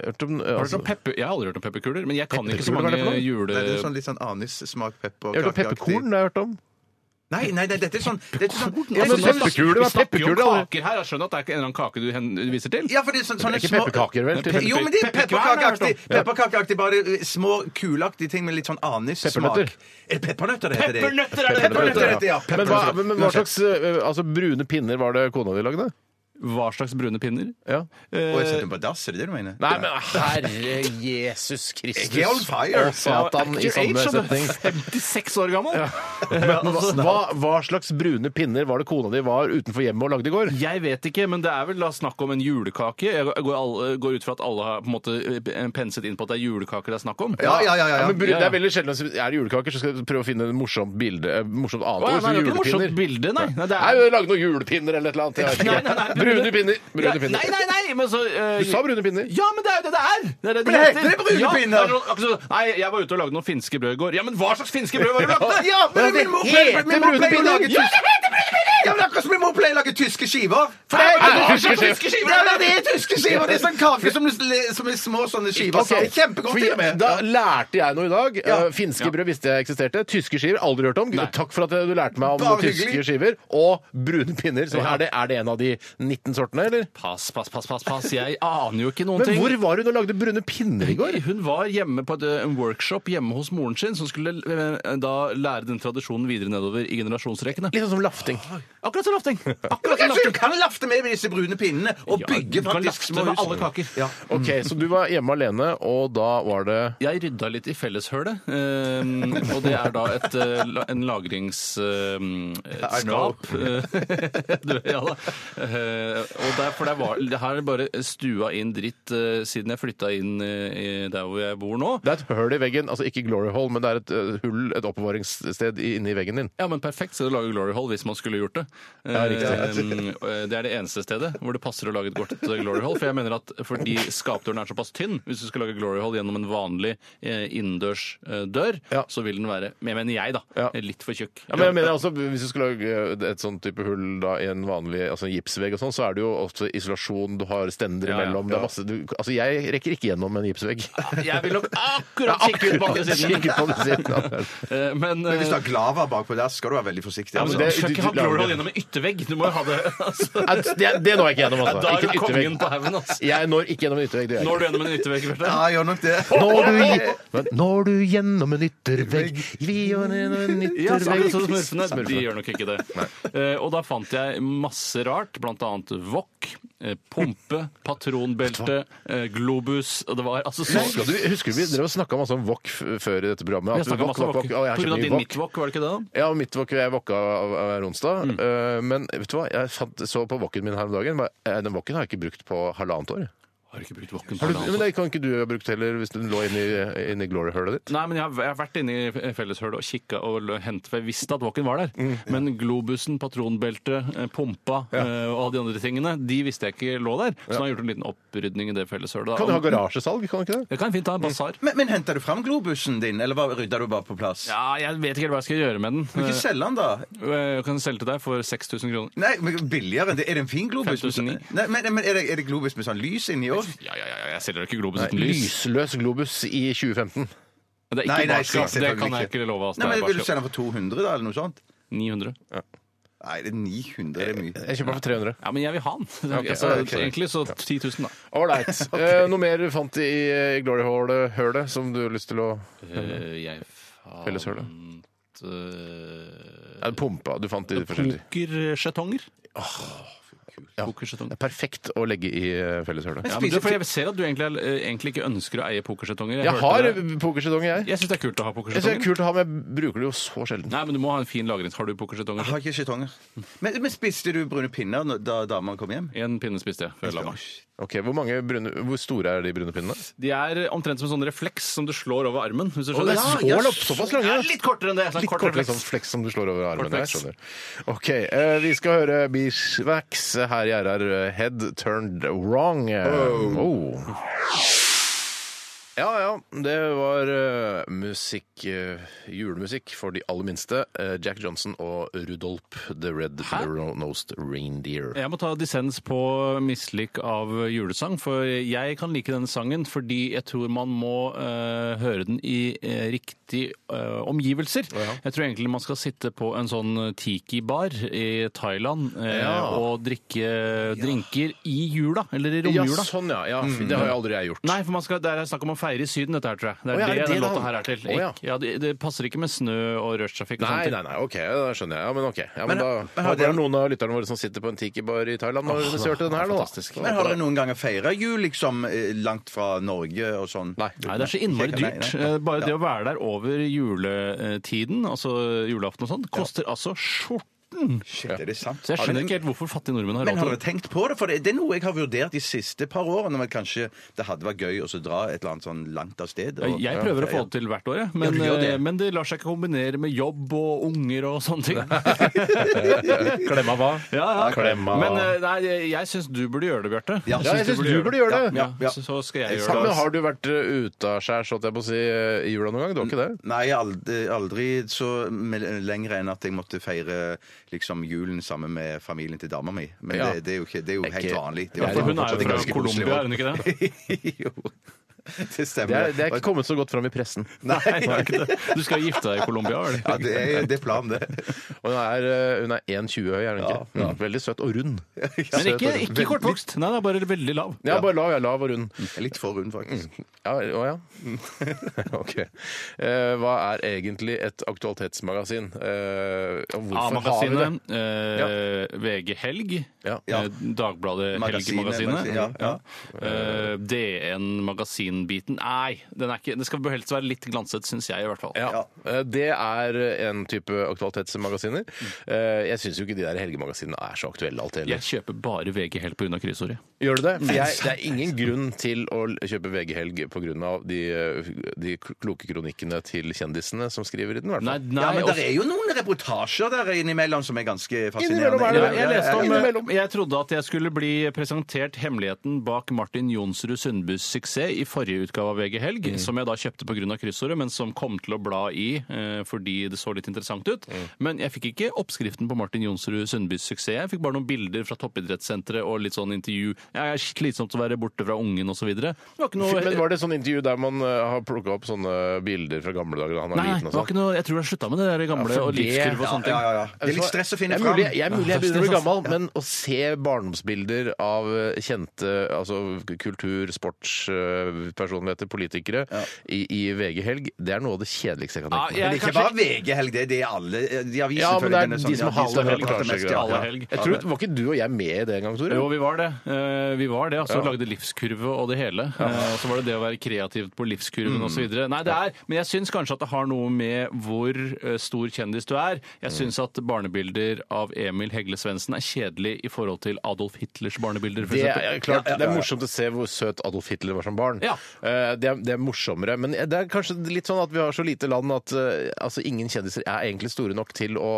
Hørt om, eh, Har du hørt altså, om pepper... Jeg har aldri hørt om pepperkuler, men jeg kan ikke så Pepperkuler, hva er mange det for noe? jule... Nei, det er sånn litt sånn anissmak, pepper jeg har hørt om pepperkorn. det har Jeg hørt om. Nei, nei, nei, dette er sånn, dette er sånn Ja, men dette Altså, er sånn- pepperkule, Vi hva er snakker jo om pepperkule, eller? kaker her. Jeg skjønner at det er ikke en eller annen kake du hen- viser til. Ja, for det er sånn, sånne ikke små- pepperkaker, vel, til Pe- Jo, men det er pepperkvern, har jeg hørt om. pepperkakeaktig. Pepperkakeaktig, bare eh, små kuleaktige ting med litt sånn anissmak. Peppernøtter. Er det peppernøtter det heter? Peppernøtter er det det Peppernøtter heter, heter det, ja. Men hva, Peppernøtter. men, men hva slags eh, altså, brune pinner var det kona di lagde? Hva slags brune pinner? Eh, Ja. Å, jeg setter dem på dass, er det det du mener? Nei, men herre Jesus Kristus. Jeg er on fire. Og Satan i Your age, samme skjønner du. setning. 56 år gammel? Men hva, hva, hva slags brune pinner var det kona di var utenfor hjemmet og lagde i går? Jeg vet ikke, men det er vel da snakk om en julekake. Jeg går, alle, går ut fra at alle har på en måte eh, penset inn på at det er julekaker det er snakk om. Ja, ja, ja. ja, ja. men bru- Ja, ja. Det er veldig sjelden at Er det julekaker, så skal jeg prøve å finne et morsomt bilde. eh, Morsomt annet Å, ord. ja, nei, som det er ikke noe morsomt julepinner. bilde, nei. nei, det Nei, er... vi lagde noen julepinner eller et eller annet. Jeg vet ikke. Nei, nei, nei, men- brune pinner. Brune pinner. Nei, nei, nei, men så eh, Du sa brune pinner. Ja, men det er jo det det er! Det er det Men det heter det brune Ja, pinner. det er sånn- akkurat sånn, Nei, jeg var ute og lagde noen finske brød i går. Ja, men hva slags finske brød var det du lagde? Ja, men min mor heter pleier- min mor brune pleier å pinner. lage Ja, tysk- Ja, men akkurat som min mor pleier å lage tyske skiver. For Nei, det er men hva tyske slags skiver. finske Ja, skiver men er det det? er tyske skiver! Det er sånn kake som, du- som er små sånne skiver. Ok, Okay. Kjempegodt. for til og med. Da lærte jeg noe i dag. Ja. Eh, Finske brød visste jeg eksisterte. Tyske skiver aldri hørt om. Nei. Takk for at eh, du lærte meg om Bare tyske hyggelig. skiver. Og brune pinner. Så Ja. er, det, er det en av de 19 sortene, eller? Pass, pass, pass, pass, pass. Jeg aner jo ikke noen Men ting. hvor var hun og lagde brune pinner i går? Hun var hjemme på et, eh, en workshop hjemme hos moren sin, som skulle eh, da lære den tradisjonen videre nedover i generasjonsrekkene. Litt sånn som lafting. Akkurat som lafting! Akkurat som Kanskje du lafting. kan lafte med disse brune pinnene og Ja, bygge du kan faktisk lafte små med hus. alle kaker. Ja. Ok, Så du var hjemme alene, og da var det Jeg rydda litt i felleshølet. ehm, og det er da et, eh, la- en ehm, I know. lagringsskap. ja da. Eh, og der, for der var, det her er bare stua inn dritt eh, siden jeg flytta inn eh, i der hvor jeg bor nå. Det er et høl i veggen. Altså ikke glory hole, men det er et eh, hull, et oppbevaringssted i- inni veggen din. Ja, men Perfekt sted å lage glory hole hvis man skulle gjort det. Ehm, eh, det er det eneste stedet hvor det passer å lage et godt eh, glory hole. For jeg mener at fordi skapdøren er såpass tynn, hvis du skal lage glory hole gjennom en vanlig eh, innendørs eh, dør, Ja. så vil den være, jeg mener jeg, da, eh, Ja. litt for tjukk. Ja, men jeg mener også, Hvis du skulle lage et sånn type hull da, i en vanlig altså en gipsvegg, og sånn, så er det jo også isolasjon, du har stender Ja, ja. imellom det er masse, du, altså Jeg rekker ikke gjennom en gipsvegg. Jeg vil nok akkurat kikke ut bak i siden. Kikke på den siden. av den. Eh, Men, Men hvis du eh, har glava bakpå der, skal du være veldig forsiktig. ja, men altså. du det- skal du- ikke ha du lager glory det. hole gjennom en yttervegg. Du må jo ha det altså. Nei, Det, det når jeg ikke gjennom. Da Altså. er Ikke du en kongen yttervegg. på haugen, altså. Jeg når ikke gjennom en yttervegg. Det gjør jeg Når ikke. du gjennom en yttervegg, Ja, Bjarte? jeg gjør nok det. Når du, men når du gjennom en yttervegg Vi gjennom en Ja, så yttervegg akkurat som smurfene. De Smurfene. gjør nok ikke det. Eh, og da fant jeg masse rart, blant annet wok, eh, pumpe, patronbelte, eh, globus og Det var altså så Husker du, husker du vi drev og snakka masse om wok f- før i dette programmet? Jeg At snakka wok, masse om wok, wok. wok, På å, jeg har grunn av kjempemye din wok. midtvok, var det ikke det? da? Ja, mitt wok, jeg vokka av- av hver onsdag. Eh, men vet du hva, jeg fant, så på woken min her om dagen. bare, eh, Den woken har jeg ikke brukt på halvannet år. Har du ikke brukt woken Har du, på det? men det kan ikke du ha brukt heller, hvis den lå inni, inni glory-hølet ditt. Nei, men jeg har, jeg har vært inne i felleshølet og kikka og l- hentet, for jeg visste at Walken var der. Mm. Men globusen, patronbeltet, eh, pumpa eh, og alle de andre tingene, de visste jeg ikke lå der. Så nå har jeg gjort en liten opprydning i det felleshølet. da. Kan du ha Mm. garasjesalg? kan du ikke det? Jeg kan fint ha en basar. Men, men henter du fram globusen din, eller hva- rydder du bare på plass? Ja, jeg vet ikke helt hva jeg skal gjøre med den. Kan du ikke selge den, da? Eh, Jeg kan selge til deg for 6000 kroner. Nei, men billigere enn det. Er det en fin globus? sånn- 5900? Nei, men, men er, det, er det globus med sånn lys inni òg? Ja, ja, ja, jeg selger ikke globus uten lys. Lysløs globus i 2015. Men Det er Nei, nei, ikke barskap. Det selvfølgelig kan jeg ikke. ikke love. Altså. Nei, Det men er Vil du barskap. selge den for 200, da, eller noe sånt? 900. Nei, det er 900 er mye. Jeg kjøper den for 300. Ja, men jeg vil ha den. Ok, altså, ok. Egentlig så 10 000, da. Ålreit. Eh, Noe mer du fant i eh, Glory Hole-hølet som du har lyst til å Eh, jeg fant Felleshølet. eh, Ja, Pumpa du fant i de forskjellige Pokersjetonger. Ja. Det Pokersjetonger. er perfekt å legge i eh, felleshølet. Ja, men du, for jeg ser at du egentlig, er- eh, egentlig ikke ønsker å eie pokersjetonger. Jeg har hørte det. pokersjedonger, jeg. Jeg syns det er kult å ha Jeg synes det er pokersjetonger. kult å ha, men jeg bruker det jo så sjelden. Nei, men du må ha en fin lagring. Har du pokersjetonger? Jeg har ikke skjetonger. Men, men spiste du brune pinner når- da damene kom hjem? En pinne spiste jeg før jeg la meg. Ok, hvor, mange brune, hvor store er de brune pinnene? De er omtrent som en sånn refleks som du slår over armen. Hvis du Å, det er skjønner. så langt, såpass lange, Ja, ja. litt kortere enn det. så en Litt kort kortere refleks. sånn fleks som du slår over armene. Jeg Kortfleks. skjønner. Ok, eh, Vi skal høre Beachwax her i RR eh, Head Turned Wrong. Eh, Oh. Ja ja, det var eh, musikk eh, Julemusikk for de aller minste. Eh, Jack Johnson og Rudolph the Red Nosed Reindeer. Jeg må ta dissens på mislik av julesang, for jeg kan like denne sangen fordi jeg tror man må eh, høre den i eh, riktig eh, omgivelser. Jeg tror egentlig man skal sitte på en sånn tiki-bar i Thailand eh, Ja. og drikke drinker i jula, eller i Ja, romjula. Mm. sånn ja. ja Det har jo aldri jeg gjort. Nei, for man skal, det er snakk om å feire i Syden, dette her, tror jeg. Det er Å, ja, er det, det det den det låta handler- her er til. Å, ja. Ikke- ja, det, det passer ikke med snø og rushtrafikk og Nei, sånt. nei, nei, ok, da skjønner jeg. Ja, men ok. Ja, men, Men- da men har håper det er dere- noen av lytterne våre som sitter på en tiki-bar i Thailand og oh, hørte den her nå. da. fantastisk. Men har dere noen ganger feira jul liksom eh, langt fra Norge og sånn? Nei. Nei, det er så innmari Nei, nei, dyrt. nei. Eh, Bare det å være der over juletiden, altså julaften og sånn, koster altså skjorten. Shit, er det sant? Så jeg Har dere- skjønner ikke helt hvorfor fattige nordmenn har Men har råd dere til det. tenkt på det? For det, det er noe jeg har vurdert de siste par årene. Men kanskje det hadde vært gøy å så dra et eller annet sånn langt av sted. og- Jeg prøver å få Ja. det til hvert år, jeg, men, du gjør det. eh, men det lar seg ikke kombinere med jobb og unger og sånne ting. Klemma hva? Ja, ja. Klemma. Men eh, nei, jeg- jeg syns du burde gjøre det, Bjarte. Ja, Ja, jeg syns du burde gjøre det. Ja, Ja. Så så skal jeg Ja, gjøre men det. har du vært eh, utaskjærs, holdt jeg på å si, eh, i jula noen gang? Du har ikke det? Nei, aldri, aldri så me- lenger enn at jeg måtte feire liksom julen sammen med familien til dama mi. Men Ja. det, det er jo, ikke, det er jo helt ikke- vanlig. Det Ja, for hun er fortsatt jo en fra ganske koselig Colombia, er år. hun ikke det? jo, det stemmer. Det er, det er ikke kommet så godt fram i pressen. Nei, det er ikke det. Du skal gifte deg i Colombia, er Ja, det? det er, det er planen, det. Og hun er, eh, hun er 1,20 høy, er hun ikke? Mm. Veldig søt og rund. Men ikke, ikke kortvokst. Nei, det er bare veldig lav. Ja, bare lav. Jeg er lav og rund. Jeg er litt for rund, faktisk. Ja, å ja. OK. Eh, hva er egentlig et aktualitetsmagasin? Eh, og hvorfor har vi det? A-magasinet, eh, VG Helg, Ja. eh, Dagbladet Magasinet, Helg-magasinet, magasin, ja, ja. eh, DN-magasinbiten Nei, den er ikke, det skal helst være litt glanset, syns jeg i hvert fall. Ja. Eh, Det er en type aktualitetsmagasiner. Eh, Jeg syns jo ikke de der helgemagasinene er så aktuelle alltid heller. Jeg kjøper bare VG Helg pga. kryssordet. Gjør du det? For jeg, det er ingen grunn til å l- kjøpe VG-helg pga. De, eh, de kloke kronikkene til kjendisene som skriver i den, i hvert Nei, fall. nei, Ja, men og- det er jo noen reportasjer der innimellom som er ganske fascinerende. Innimellom er det ja, det. jeg leste om Innimellom. Jeg trodde at jeg skulle bli presentert hemmeligheten bak Martin Jonsrud Sundbys suksess i forrige utgave av VG Helg, Mm. som jeg da kjøpte pga. kryssordet, men som kom til å bla i eh, fordi det så litt interessant ut. Mm. Men jeg fikk ikke oppskriften på Martin Jonsrud Sundbys suksess. Jeg fikk bare noen bilder fra toppidrettssenteret og litt sånn intervju. Jeg er slitsomt å være borte fra ungen osv. Det var ikke noe Men Var det sånn intervju der man eh, har plukka opp sånne bilder fra gamle dager da han var Nei, liten? og det var sånn? ikke noe, jeg tror jeg slutta med det der gamle Ja, for og det- livskurv og sånn. Ja, sånne ting. ja, ja, ja. Det er litt stress å finne Det er fram. mulig, jeg, er mulig jeg begynner å bli Ja. gammel, men å se barndomsbilder av eh, kjente altså, k- kultur-, sportspersonligheter, politikere i, i VG-helg, det er noe av det kjedeligste jeg kan Ja, tenke meg. Men det er jeg, ikke bare VG-helg, det er det alle eh, de avisene Ja, men det er følger denne de som ja, har som alle følger dette mest, ja. alle Ja. helg. Jeg tror, Var ikke du og jeg med i det en gang, Tore? Jo, vi var det. Eh, Vi var det, altså Lagde livskurve og det hele. Eh, Og så var det det å være kreativt på livskurven Mm. og osv. Nei, det er Men jeg syns kanskje at det har noe med hvor eh, stor kjendis du er. Mm. Jeg syns at barnebilder av Emil Hegle Svendsen er kjedelig i forhold til Adolf Hitlers barnebilder, for Det er, eksempel. klart, det er morsomt å se hvor søt Adolf Hitler var som barn. Ja. Eh, Det, er, det er morsommere. Men det er kanskje litt sånn at vi har så lite land at eh, altså, ingen kjendiser er egentlig store nok til å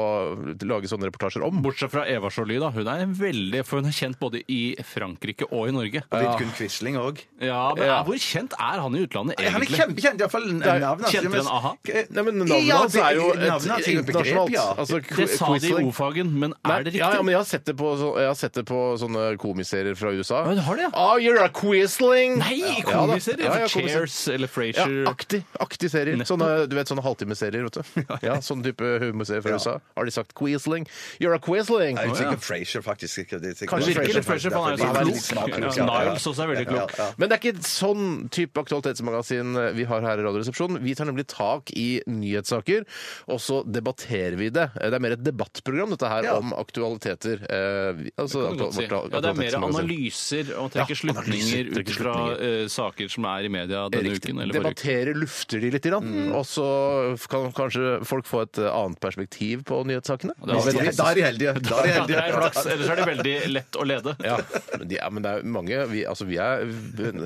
lage sånne reportasjer om. Bortsett fra Eva Joly, da. Hun er veldig For hun er kjent både i Frankrike og i Norge. Og Vidkun Quisling òg. Ja, men Ja. Hvor kjent er han i utlandet, Han er egentlig? kjempekjent, iallfall navnet Kjente men- dere han, aha? Nei, men Navnet Ja, hans er jo det- navnet hans et er jo et begrep, internasjonalt. ja. altså, Det sa de i Quisling. ordfagen, men Nei, er det riktig? Ja, ja, men jeg har sett det på, så, jeg har sett det på sånne komiserier fra USA. Ja, du har det, ja. Oh, you're a quisling! Nei, Ja, da. komiser! serier. Ja, ja, komiserier. Chairs eller Ja, Frasier. aktig, aktig serier. Sånne, du vet, sånne halvtimeserier. vet du. Ja, sånn type humorserie fra USA. Har de sagt 'Quisling'? You're a Quisling! Jeg er Ja. sikkert Frasier, faktisk. ikke- det er sikkert- Kanskje Virker Frasier, litt Frasier, for han han er er sånn- jo litt så smart, klok. kanskje. Ja, Niles også er veldig klok. Ja, ja. Men det er ikke et sånn type aktualitetsmagasin eh, vi har her i Radioresepsjonen. Vi tar nemlig tak i nyhetssaker, og så debatterer vi det. Eh, Det er mer et debattprogram, dette her, om aktualiteter. Eh, vi- altså, Kan du godt si. vårt a- Ja, det er mer aktualitetsmagasin. analyser og trekke Ja, analyser, slutninger ut trekke fra slutninger. eh, saker som er i media denne Riktig. uken. Eller forrige uke. Mm. Debattere, lufter de litt, grann, og så kan kanskje folk få et eh, annet perspektiv på nyhetssakene. det er- Hvis de- Ja, Da er de heldige. Da er de Ja, det heldige. er flaks, ellers er det veldig lett å lede. Ja, men, de, ja, men det er mange Vi, altså, vi er,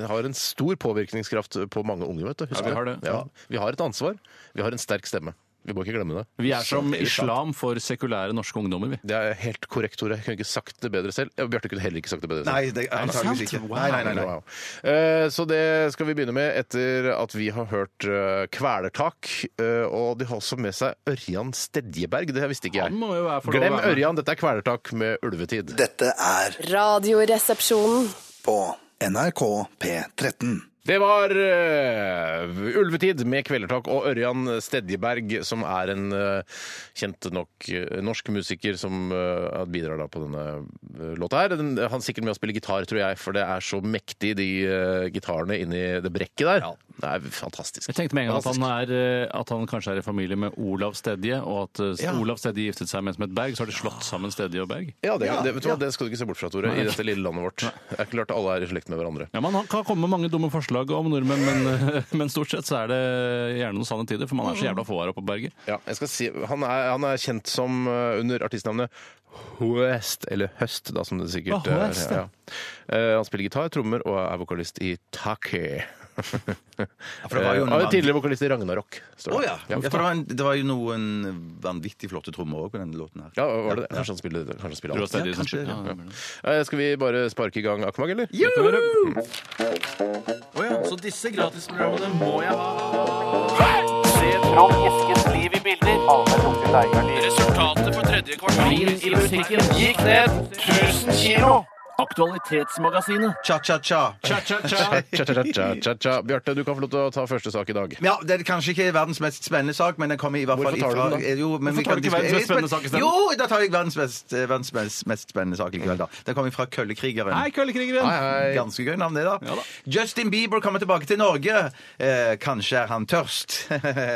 har en stor påvirkningskraft på mange unge, vet du. Husk Ja, vi har det. Ja, vi har et ansvar. Vi har en sterk stemme. Vi må ikke glemme det. Vi er som islam for sekulære norske ungdommer, vi. Det er helt korrekt, Tore. Jeg kunne ikke sagt det bedre selv. Ja, Bjarte kunne heller ikke sagt det bedre selv. Nei, det er antakeligvis ikke. sant? Nei, nei, nei, nei. Wow. Eh, Så det skal vi begynne med etter at vi har hørt eh, Kvelertak. eh, Og de har også med seg Ørjan Stedjeberg. Det visste ikke jeg. Han må jo være for lov å Glem være med. Ørjan, dette er Kvelertak med ulvetid. Dette er Radioresepsjonen. på NRK P13. Det var eh, Ulvetid med Kvelertak og Ørjan Stedjeberg, som er en eh, kjent nok eh, norsk musiker som eh, bidrar da på denne eh, låta her. Den, han er sikkert med å spille gitar, tror jeg, for det er så mektig, de eh, gitarene inni det brekket der. Det er fantastisk. Jeg tenkte med en gang at han, er, eh, at han kanskje er i familie med Olav Stedje, og at eh, Ja. Olav Stedje giftet seg med en som het Berg, så har de slått sammen Stedje og Berg. Ja, det, det, vet du hva, det skal du ikke se bort fra, Tore, i dette lille landet vårt. Det er klart alle er i slekt med hverandre. Ja, Man kan komme med mange dumme forslag om nordmenn, men, eh, men stort sett så er det gjerne noen sanne tider, for man er så jævla få her oppe på berget. Ja, jeg skal si, han, er, han er kjent som eh, under artistnavnet Høst, eller Høst, da, som det sikkert Ah, eh, Høst, ja. Eh, Han spiller gitar, trommer og er vokalist i Taki. for det var jo Eh, han er en mann. tidligere vokalist i Ragnarok. står Å det. ja. ja. For det var, en, det var jo noen vanvittig flotte trommer òg på denne låten her. Ja, var det det? Kanskje han spiller, kanskje han Du spiller har alt. Stedje som kanskje, spiller. ja. Ja, det er det. Eh, Skal vi bare sparke i gang Akmag, eller? Resultatet for tredje kvartal i musikken gikk ned 1000 kilo. Aktualitetsmagasinet. Cha-cha-cha. Cha-cha-cha. Cha-cha-cha-cha-cha. Bjarte, du kan få lov til å ta første sak i dag. Ja, Det er kanskje ikke verdens mest spennende sak, men den kommer i hvert fall Hvorfor tar du ifra den da? Jo, men Hvorfor vi tar kan du ikke verdens diskutere- mest spennende sak isteden? Jo, da tar jeg verdens mest, eh, verdens mest, mest spennende sak likevel, da. Den kommer fra Køllekrigeren. Hei, Køllekrigeren! Hei, hei. Ganske gøy navn, det, da. Ja da. Justin Bieber kommer tilbake til Norge. Eh, kanskje er han tørst,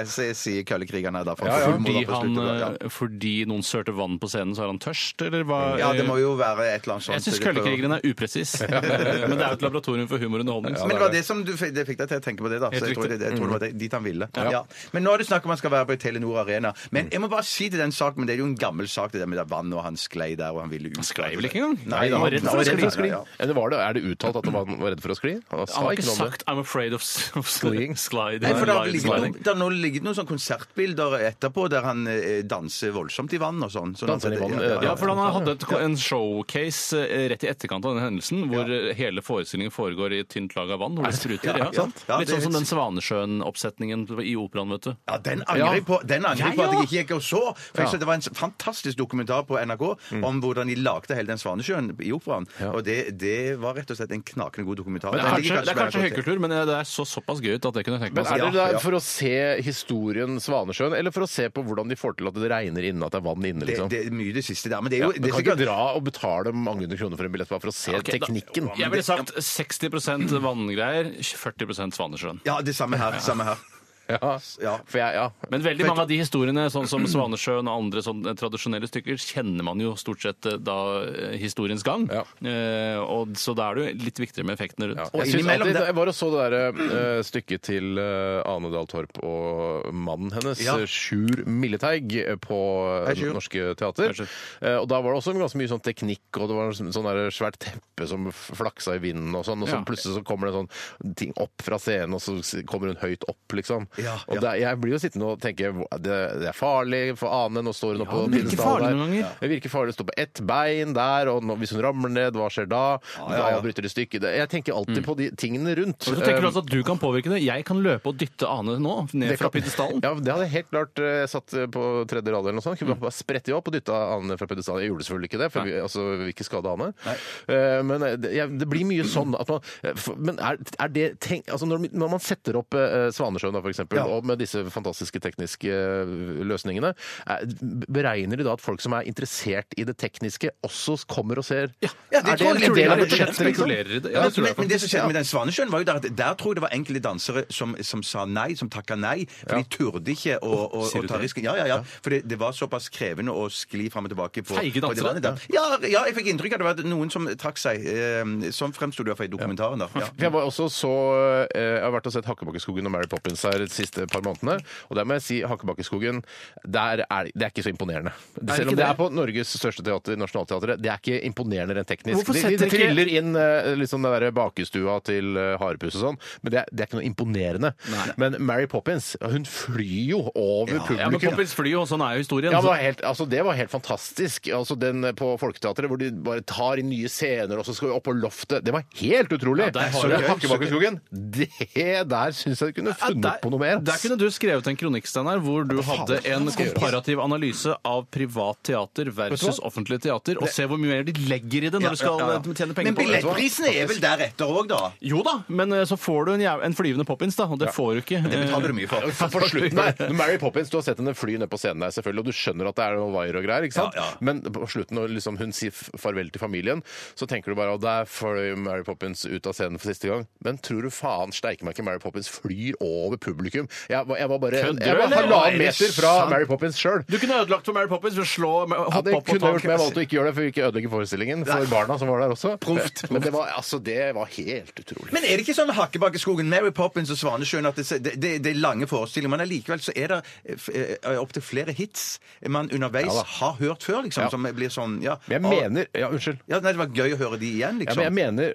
sier sier køllekrigerne. da. for Ja, ja. full Fordi, moro på han, slutten, ja. eh, fordi noen sørte vann på scenen, så er han tørst, eller hva? ja, det må jo være et eller annet sånt. eh, Jeg Det syns prøver- Køllekrigeren er upresis, Eh, men det er jo et laboratorium for humor og underholdning. Men det var det som du, fikk- det fikk deg til å tenke på det, da. Så jeg tror det, jeg tror det var det, dit han ville. Ja. Men nå er det snakk om han skal være på Telenor Arena. Men jeg må bare si til den saken, men det er jo en gammel sak, det der med det vannet, og han sklei der, og han ville ut. Han sklei vel ikke engang? Nei, Han var redd for å skli. Ja. Eller var det, er det uttalt at han var- var redd for å skli? Han sa Han har ikke ikke noe om det. sagt 'I'm afraid of, s- of Sliding. sliding'. sliding. Nei, for det har Sliding. ligget noen, det har nå ligget noen sånne konsertbilder etterpå der han eh, danser voldsomt i vann og sånn. Sånn at Danser i det- vann, ja, ja, Ja, for han hadde et, en showcase eh, rett i etterkant av den hendelsen, hvor eh, hele forestillingen foregår i et tynt lag av vann, hvor det spruter. Ja, Ja, ja. Ja, Litt det er sånn som helt- den Svanesjøen-oppsetningen i operaen, vet du. Ja, den angrer jeg på, den angrer jeg på at jeg òg. ikke gikk og så. For jeg så Det var en fantastisk dokumentar på NRK om hvordan de lagde hele den Svanesjøen i operaen. Og det, det var rett og slett en knakende god dokumentar. Men det, er Den ligger kanskje, det er på kanskje NRK. høykultur, men eh, det er så såpass gøy ut at det kunne jeg tenke Men meg. er å se. dere Altså, ja, der ja. for å se historien Svanesjøen, eller for å se på hvordan de får til at det regner inne, at det er vann inne, det, liksom? det er mye det siste der. Men det er ja, du jo det er kan ikke sikkert- dra og betale mange hundre kroner for en billett bare for å se Ok, da- teknikken. Jeg ville sagt 60 vanngreier, 40 Svanesjøen. Ja, det er samme her. Samme her. Ja, Ja. for jeg, ja. Men veldig mange av de historiene, sånn som Svanesjøen og andre sånn, eh, tradisjonelle stykker, kjenner man jo stort sett eh, da eh, historiens gang. Ja. Eh, og, så da er det jo litt viktigere med effektene rundt. Jeg, synes innimellom alltid, det- jeg var og så det der, eh, stykket til eh, Ane Dahl Torp og mannen hennes, Ja. eh, Sjur Milleteig, eh, på eh, Hei, Sjur. Norske Teater. Sjur. Eh, og Da var det også ganske mye sånn teknikk, og det var sånn sånn der svært teppe som f- flaksa i vinden, og sånn, og så Ja. plutselig så kommer det en sånn ting opp fra scenen, og så s- kommer hun høyt opp, liksom. Ja, Og ja. det er- jeg blir jo sittende og tenke "Hva- det, det er farlig for Ane, nå står hun oppe på det virker pinnestall farlig der. noen ganger. Ja. Det virker farlig å stå på ett bein der, og nå, hvis hun ramler ned, hva skjer da? ja, ja. Da bryter det stykket. Det- Jeg tenker alltid på de tingene rundt. Mm. Og så tenker du altså at du kan påvirke det. Jeg kan løpe og dytte Ane nå, ned Det fra kan- pidestallen. Ja, det hadde jeg helt klart eh, satt eh, på tredje rad eller noe sånt. Kunne bare sprette jeg opp og dytta Ane fra pedestalen. Jeg gjorde selvfølgelig ikke det, for vi, altså, vi vil ikke skade Ane. Eh, Men eh, det, jeg, det blir mye sånn at man eh, for- Men er, er det tenk, altså når, når man setter opp eh, Svanesjøen da, for eksempel, og med disse fantastiske tekniske eh, løsningene, eh, beregner de da at folk som er interessert i det tekniske, også kommer og ser? Ja, er det tror jeg- en del av jeg- jeg- budsjettet, liksom? spekulerer i det. Ja, Men- det tror jeg men, men det som faktisk. skjedde med den Svanesjøen, var jo der at der tror jeg det var enkelte dansere som, som sa nei, som takka nei. For de turde ikke å, å, sier å du ta det? risken. Ja, ja, ja. For det, det var såpass krevende å skli fram og tilbake på Feige på dansere? divanen der. Ja, ja, jeg fikk inntrykk av det var noen som trakk seg. Eh, sånn fremsto det i hvert fall i dokumentaren. da. Ja. For jeg var også så eh, Jeg har vært og sett Hakkebakkeskogen og Mary Poppins her de siste par månedene. Og der må jeg si Hakkebakkeskogen der er, Det er ikke så imponerende. Selv om det det? er på Norges største teater, Nationaltheatret, det er ikke imponerende rent teknisk. Hvorfor de, setter de ikke- triller inn eh, liksom den der bakestua til eh, Harepus og sånn, men det er, det er ikke noe imponerende. Men Mary Poppins, hun flyr jo over Ja, men publikum. Poppins fly, og sånn er jo historien. Ja, men det så- var helt, altså det var helt fantastisk. Altså den på Folketeatret hvor de bare tar inn nye scener, og så skal vi opp på loftet. Det var helt utrolig! Ja, der har så du- Hakkebakkeskogen, det der syns jeg du kunne Ja, funnet der- på noe mer. Der kunne du skrevet en kronikk, Steinar, hvor du hadde en komparativ analyse av privat teater versus offentlig teater, og se hvor mye mer de legger i det når du skal eh, tjene penger Men på det. billettprisene er vel deretter òg, da? Jo da, men eh, så får du en, jæv- en flyvende Poppins, da, og det får du ikke. Det betaler du eh, mye for. For, for slutten der, når Mary Poppins, Du har sett henne fly ned på scenen der, selvfølgelig, og du skjønner at det er noe wire og greier. ikke sant? Ja, ja. Men på slutten, når liksom hun sier f- farvel til familien, så tenker du bare at der fløy Mary Poppins ut av scenen for siste gang. Men tror du faen steike meg ikke Mary Poppins flyr over publikum? Jeg, var- jeg var bare Kødder du, jeg var eller? halvannen Er det meter fra sant? Mary Poppins sjøl. Du kunne ødelagt for Mary Poppins ved å slå, Ja, hoppe det opp på kunne jeg gjort, men jeg taket. valgte å ikke gjøre det for å ikke ødelegge forestillingen for barna som var der også. Men det var, altså, det var helt utrolig. Men er det ikke sånn med Hakkebakkeskogen, Mary Poppins og Svanesjøen at det, det, det, det er lange forestillinger, men allikevel så er det opptil flere hits man underveis Ja da. har hørt før, liksom, Ja. som blir sånn ja, Men jeg mener Ja, unnskyld. ja, nei, Det var gøy å høre de Ja, igjen, liksom. men jeg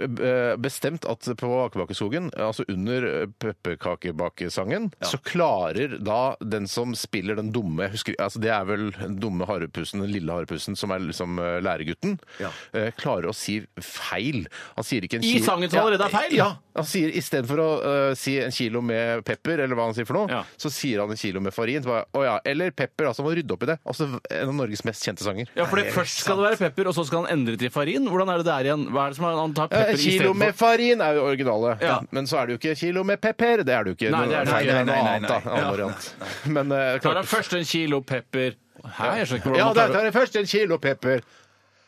mener eh, bestemt at på Akebakkeskogen, altså under eh, pepperkakebakesangen, så klarer da den som spiller den dumme jeg husker, altså Det er vel den dumme harepusen, den lille harepusen, som er liksom eh, læregutten, Ja. eh, klarer å si feil. Han sier ikke en I kilo- sangen som allerede er feil? Ja. Han sier istedenfor å eh, si en kilo med pepper, eller hva han sier for noe, Ja. så sier han en kilo med farin. Så bare, å ja, eller pepper, altså. Han må rydde opp i det. Altså en av Norges mest kjente sanger. Ja, for det først skal det være pepper, og så skal han endre til farin. Hvordan er det der igjen? Hva er det som er, han tar Ja, pepper En Eh, kilo med istedenfor? farin er jo originale, Ja. men så er det jo ikke kilo med pepper. Det er det jo ikke. Nei, det er det Nei, ikke. noe Nei, nei, annet, nei, da. nei. Annen Ja. variant. Men eh, klart- Tar han først en kilo pepper Hæ, jeg skjønner ikke hvordan Ja, han da tar det. tar jeg først en kilo pepper.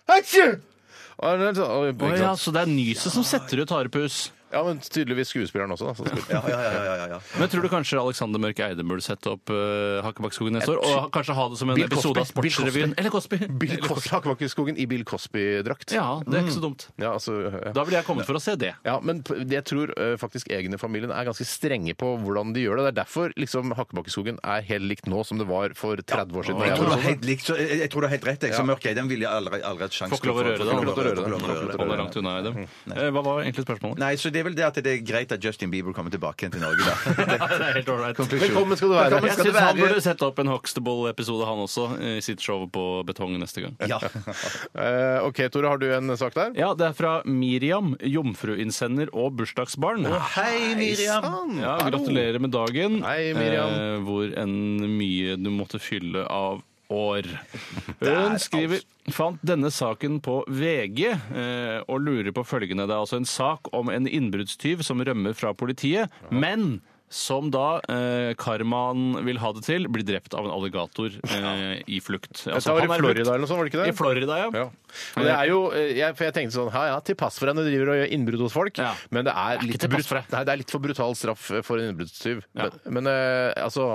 Atsju! Og det er sånn- og- Å ikke ja, sant? så det er nyset som setter ut harepus. Ja, men tydeligvis skuespilleren også, da. som spilte. ja, ja, ja, ja, ja, ja. Men tror du kanskje Alexander Mørk Eide burde sette opp uh, Hakkebakkeskogen neste år? Og kanskje ha det som en Bill episode av Cosby. Bill Cosby. Sportsrevyen? Eller Cosby. Bill Cosby Hakkebakkeskogen i Bill Cosby-drakt. Ja, det er ikke så dumt. Ja, altså, ja. Da ville jeg kommet for å se det. Ja, men p- det jeg tror eh, faktisk egne familien er ganske strenge på hvordan de gjør det. Det er derfor liksom Hakkebakkeskogen er helt likt nå som det var for 30 år siden. da Jeg jeg var tror, sånn. du har helt likt, så, jeg, jeg tror du har helt rett. Jeg, Ja. så mørk, jeg, den ville jeg aldri, aldri hatt sjanse Får ikke lov å røre det. Får ikke lov å Får ikke lov å røre det. røre det. Hånd er langt unna, Eide. Eh, Hva var egentlig spørsmålet? Nei, så det er vel det at det er greit at Justin Bieber kommer tilbake igjen til Norge, da. det er helt all right. sånn. Velkommen skal du være. Velkommen Jeg skal du syns han være. burde sette opp en Huxtable-episode, han også, i sitt show på betong neste gang. Ja. Eh, OK, Tore, har du en sak der? Ja, altså, det er fra Miriam, jomfruinnsender og bursdagsbarn. Hei, Miriam. Ja, gratulerer med dagen. Hei, Miriam. Eh, hvor enn mye du måtte fylle av år. Hun skriver fant denne saken på VG eh, og lurer på følgende. Det er altså en sak om en innbruddstyv som rømmer fra politiet, men som da eh, karmaen vil ha det til, blir drept av en alligator eh, i flukt. Dette var i Florida eller noe sånt, var det ikke det? I Florida, ja. Ja. Men det er jo, eh, jeg, for jeg tenkte sånn ja, ja, til pass for henne driver og gjør innbrudd hos folk, Ja. men det er, ikke litt til pass brut- for deg. Nei, det er litt for brutal straff eh, for en innbruddstyv. Ja. Men, men eh, altså,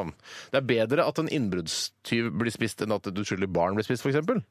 det er bedre at en innbruddstyv blir spist enn at et uskyldig barn blir spist, f.eks. Eh,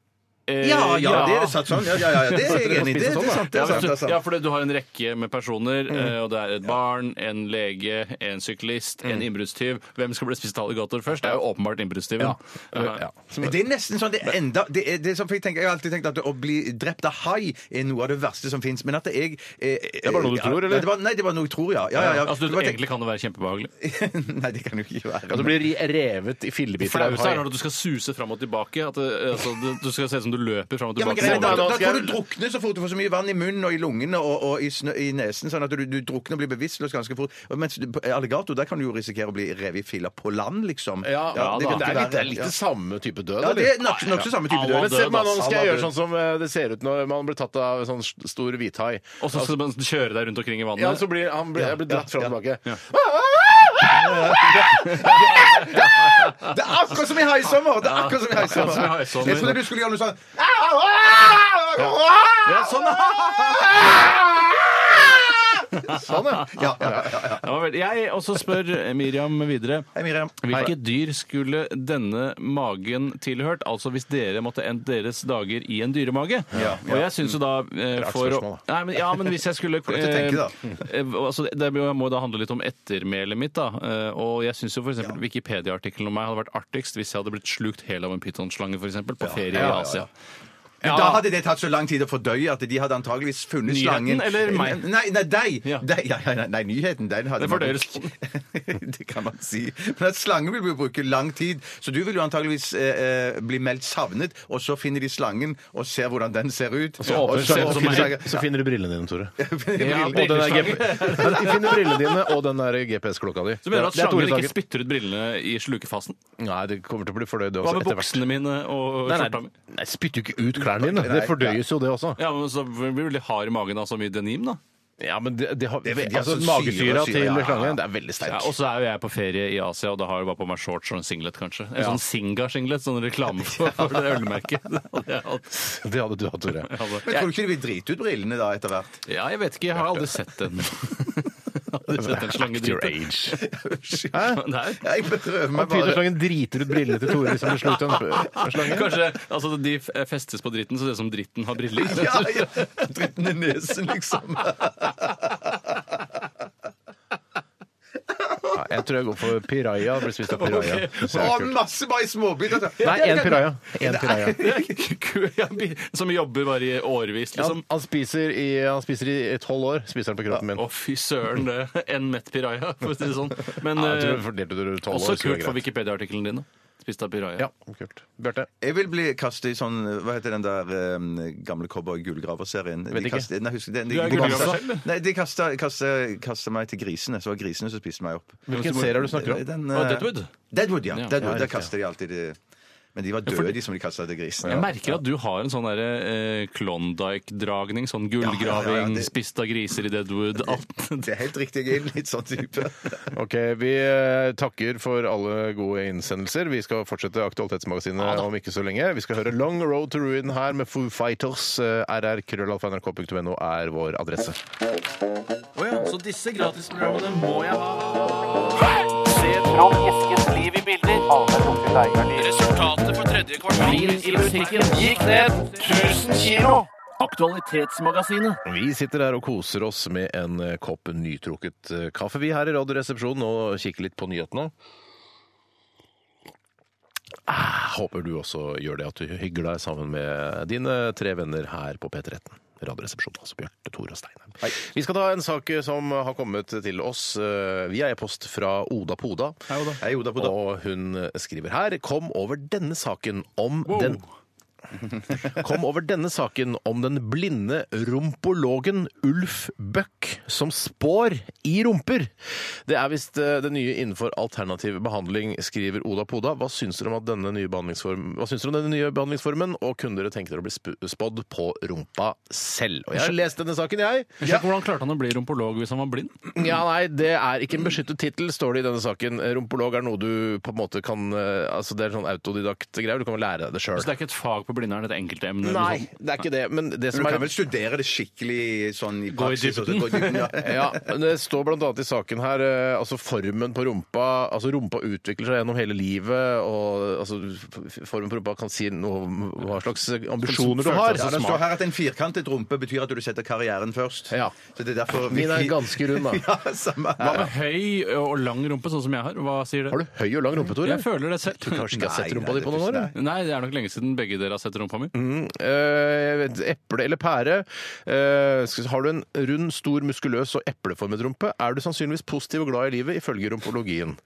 Ja, ja, det er satt sånn. Ja, ja, ja, det er jeg enig i. Det, det er sant. det Ja, er sant, det hvis er du- sant. ja, for du har en rekke med personer, eh, og det er et barn, en lege, en syklist, en innbruddstyv. Hvem skal bli spist av alligator først? Det er jo åpenbart innbruddstyven. Ja. Men det er nesten sånn det er enda det er, det er sånn, for jeg, tenker, jeg har alltid tenkt at å bli drept av hai er noe av det verste som fins. Men at jeg eh, er bare noe du ja, tror, eller? Nei, det var, nei, det var noe jeg tror, ja. ja, ja, ja. Altså, Det du, var- egentlig kan det være kjempebehagelig. Nei, det kan jo ikke At være. du Altså, blir ri- revet i fillebiter av Flaueste er hai. når du skal suse fram og tilbake. At det, altså, det, du skal se ut som du løper fram og Ja, men tilbake. greit, da, men da, da da skal kan jeg- du drukne så fort. Du får så mye vann i munnen og i lungene og, og i, snø, i nesen, sånn at du, du drukner og blir bevisstløs ganske fort. Og Mens du- på eh, alligator, der kan du jo risikere å bli revet i filler på land, liksom. Ja, Ja, det, kan det, er litt, ikke det er være- litt ja. det samme type død. Ja, det eller? er nok- nokså samme type Ja, død. Men se på meg, nå skal jeg gjøre Alla død. sånn som eh, det ser ut når man blir tatt av en sånn s- stor hvithai. Og så skal man kjøre deg rundt omkring i vannet. Ja, så blir han blir, jeg blir dratt fram og tilbake. Det er akkurat som i haisommer! Det er akkurat som i haisommer. Akkurat som i haisommer. Jeg trodde du skulle gjøre noe sånn Ja, sånn, Sånn, ja. ja, ja, ja, ja. Det var veldig- Jeg også spør Miriam videre. Hei, Miriam. Hvilke dyr skulle denne magen tilhørt? Altså hvis dere måtte endt deres dager i en dyremage. Og jeg syns jo da eh, Rart for å spørsmål, Nei, men, ja, men hvis jeg skulle Får deg til å tenke, da. eh, eh, altså, Det må- må jo da handle litt om ettermælet mitt, da. Eh, Og jeg syns jo f.eks. eksempel Wikipedia-artikkelen om meg hadde vært artigst hvis jeg hadde blitt slukt hel av en pytonslange, f.eks. På ferie ja, i ja, Asia. Men Da hadde det tatt så lang tid å fordøye at de hadde antageligvis funnet Nyheten slangen. eller meg? Nei, nei, deg. Ja. Deg, ja, ja, nei, nei, nyheten, den hadde Det man- fordøyes. det kan man si. Men at slangen vil jo bruke lang tid, så du vil jo antageligvis eh, eh, bli meldt savnet, og så finner de slangen og ser hvordan den ser ut. Og så åpner Så, Ser ut som meg. finner- så finner du brillene dine, Tore. Ja, Og den der brilleslange. G- De finner brillene dine og den der GPS-klokka di. Så mener du at Det er Tore slangen ikke Sagen. spytter ut brillene i slukefasen? Nei, det kommer til å bli fordøyd Hva også med etter hvert. buksene mine og Nei, skjorta nei, mi? nei, spytter jo ikke ut klærne dine. Det fordøyes jo, det også. Ja, men så blir du veldig hard i magen av så mye denim, da. Ja, men det, det har, Det er veldig- altså, altså, syre magesyra og syre, til ja, ja. slangen, det er veldig sterk. Ja, og så er jo jeg på ferie i Asia, og da har jeg bare på meg shorts og en singlet, kanskje. En Ja. sånn Singa-singlet, sånn reklame for, for det ølmerket. Det hadde du hatt, Tore. Men tror du ikke de vil drite ut brillene da etter hvert? Ja, jeg vet ikke, jeg har aldri sett en Aldri sett en slange Your drite. age. Der. Jeg prøver meg bare. Pytonslangen driter ut brillene til Tore hvis han blir slukt av en slange. Kanskje altså, de f- festes på dritten, så det er som dritten har briller. Ja, ja. Dritten i nesen, liksom. Ja, jeg tror jeg går for piraya. Blir spist av piraya. Det ser Og kult ut. masse bare i altså. småbiter. Nei, én piraya. En piraya. Som jobber bare i årevis, Ja, han, liksom. han spiser i han spiser i tolv år. Spiser han på kroppen min. Å, fy søren, det. En mett piraya, for å si det sånn. Men Ja, jeg tror eh, jeg fordelte det tolv år. også så det er kult for greit. Wikipedia-artikkelen din. da. Spist av piraya. Ja, kult. Bjarte? Jeg vil bli kastet i sånn Hva heter den der eh, gamle cowboy-gullgraverserien? Vet ikke. Nei, husker du den? De, Du er de gullgraver kastet- selv, eller? Nei, de kasta, meg til grisene. Så var grisene som spiste meg opp. Hvilken serie er det du snakker om? Den, Å, eh, Deadwood? Deadwood, ja. Ja, Deadwood, ja, Der riktig, kaster de alltid de Men de var for døde, de- de som de kasta til grisene. Jeg merker at du har en sånn der, eh, Klondyke-dragning. Sånn gullgraving, Ja, ja, ja, ja, det- spist av griser i Deadwood, alt. Det er helt riktig. Jeg er litt sånn type. Ok, Vi eh, takker for alle gode innsendelser. Vi skal fortsette Aktualitetsmagasinet om ikke så lenge. Vi skal høre Long Road to Ruin her med Foo Fighters. Eh, rrkrøllalfa.nrk.no er vår adresse. Så disse gratisprogrammene må jeg ha. Resultatet for tredje kvartal i musikken gikk ned 1000 kilo. Aktualitetsmagasinet. Vi sitter her og koser oss med en eh, kopp nytrukket eh, kaffe, vi her i Radioresepsjonen, og kikker litt på nyhetene. Ah, håper du også gjør det, at du hygger deg sammen med dine tre venner her på P13. Radioresepsjonen, altså Bjarte, Tore og Steinar. Vi skal ta en sak eh, som har kommet til oss eh, via e-post fra Oda Poda. Hei, Oda Poda. Og hun skriver her Kom over denne saken om den Kom over denne saken om den blinde rumpologen Ulf Bøck som spår i rumper. Det er visst eh, det nye innenfor alternativ behandling, skriver Oda Poda. Hva syns dere om, at denne, nye behandlingsform- hva syns dere om denne nye behandlingsformen, og kunne dere tenke dere å bli sp- spådd på rumpa selv? Og jeg har lest denne saken, jeg. Jeg skjønner ikke Hvordan klarte han å bli rumpolog hvis han var blind? Ja, nei, det er ikke en beskyttet tittel, står det i denne saken. Rumpolog er noe du på en måte kan eh, Altså, det er sånn autodidakt-greier. Du kan vel lære deg det Så sjøl. det er ikke et fag på på Blindern et enkeltemne. liksom. eller noe Nei, sånt. det er ikke det. Men det Du som er kan vel studere det skikkelig sånn i Gå i praksis. og så dybden. gå i dybden ja. Ja, men Det står bl.a. i saken her eh, altså formen på rumpa altså Rumpa utvikler seg gjennom hele livet. og altså, f- Formen på rumpa kan si noe om hva slags ambisjoner du har. Ja, det står her at en firkantet rumpe betyr at du setter karrieren først. Ja. Så det er derfor Min er ganske rund, da. ja, samme Hva her. med høy og lang rumpe, sånn som jeg har? Hva sier det? Har du høy og lang rumpe, Tore? Jeg føler det selv. Kanskje ikke jeg har Nei, sett rumpa nei, di på det noen år? tror eller? jeg Nei, det er nok lenge siden begge dere har sett rumpa mi. Eh, jeg vet, eple eller pære. Eh, skal- har du en rund, stor, muskuløs og epleformet rumpe, er du sannsynligvis positiv og glad i livet, ifølge rumpologien.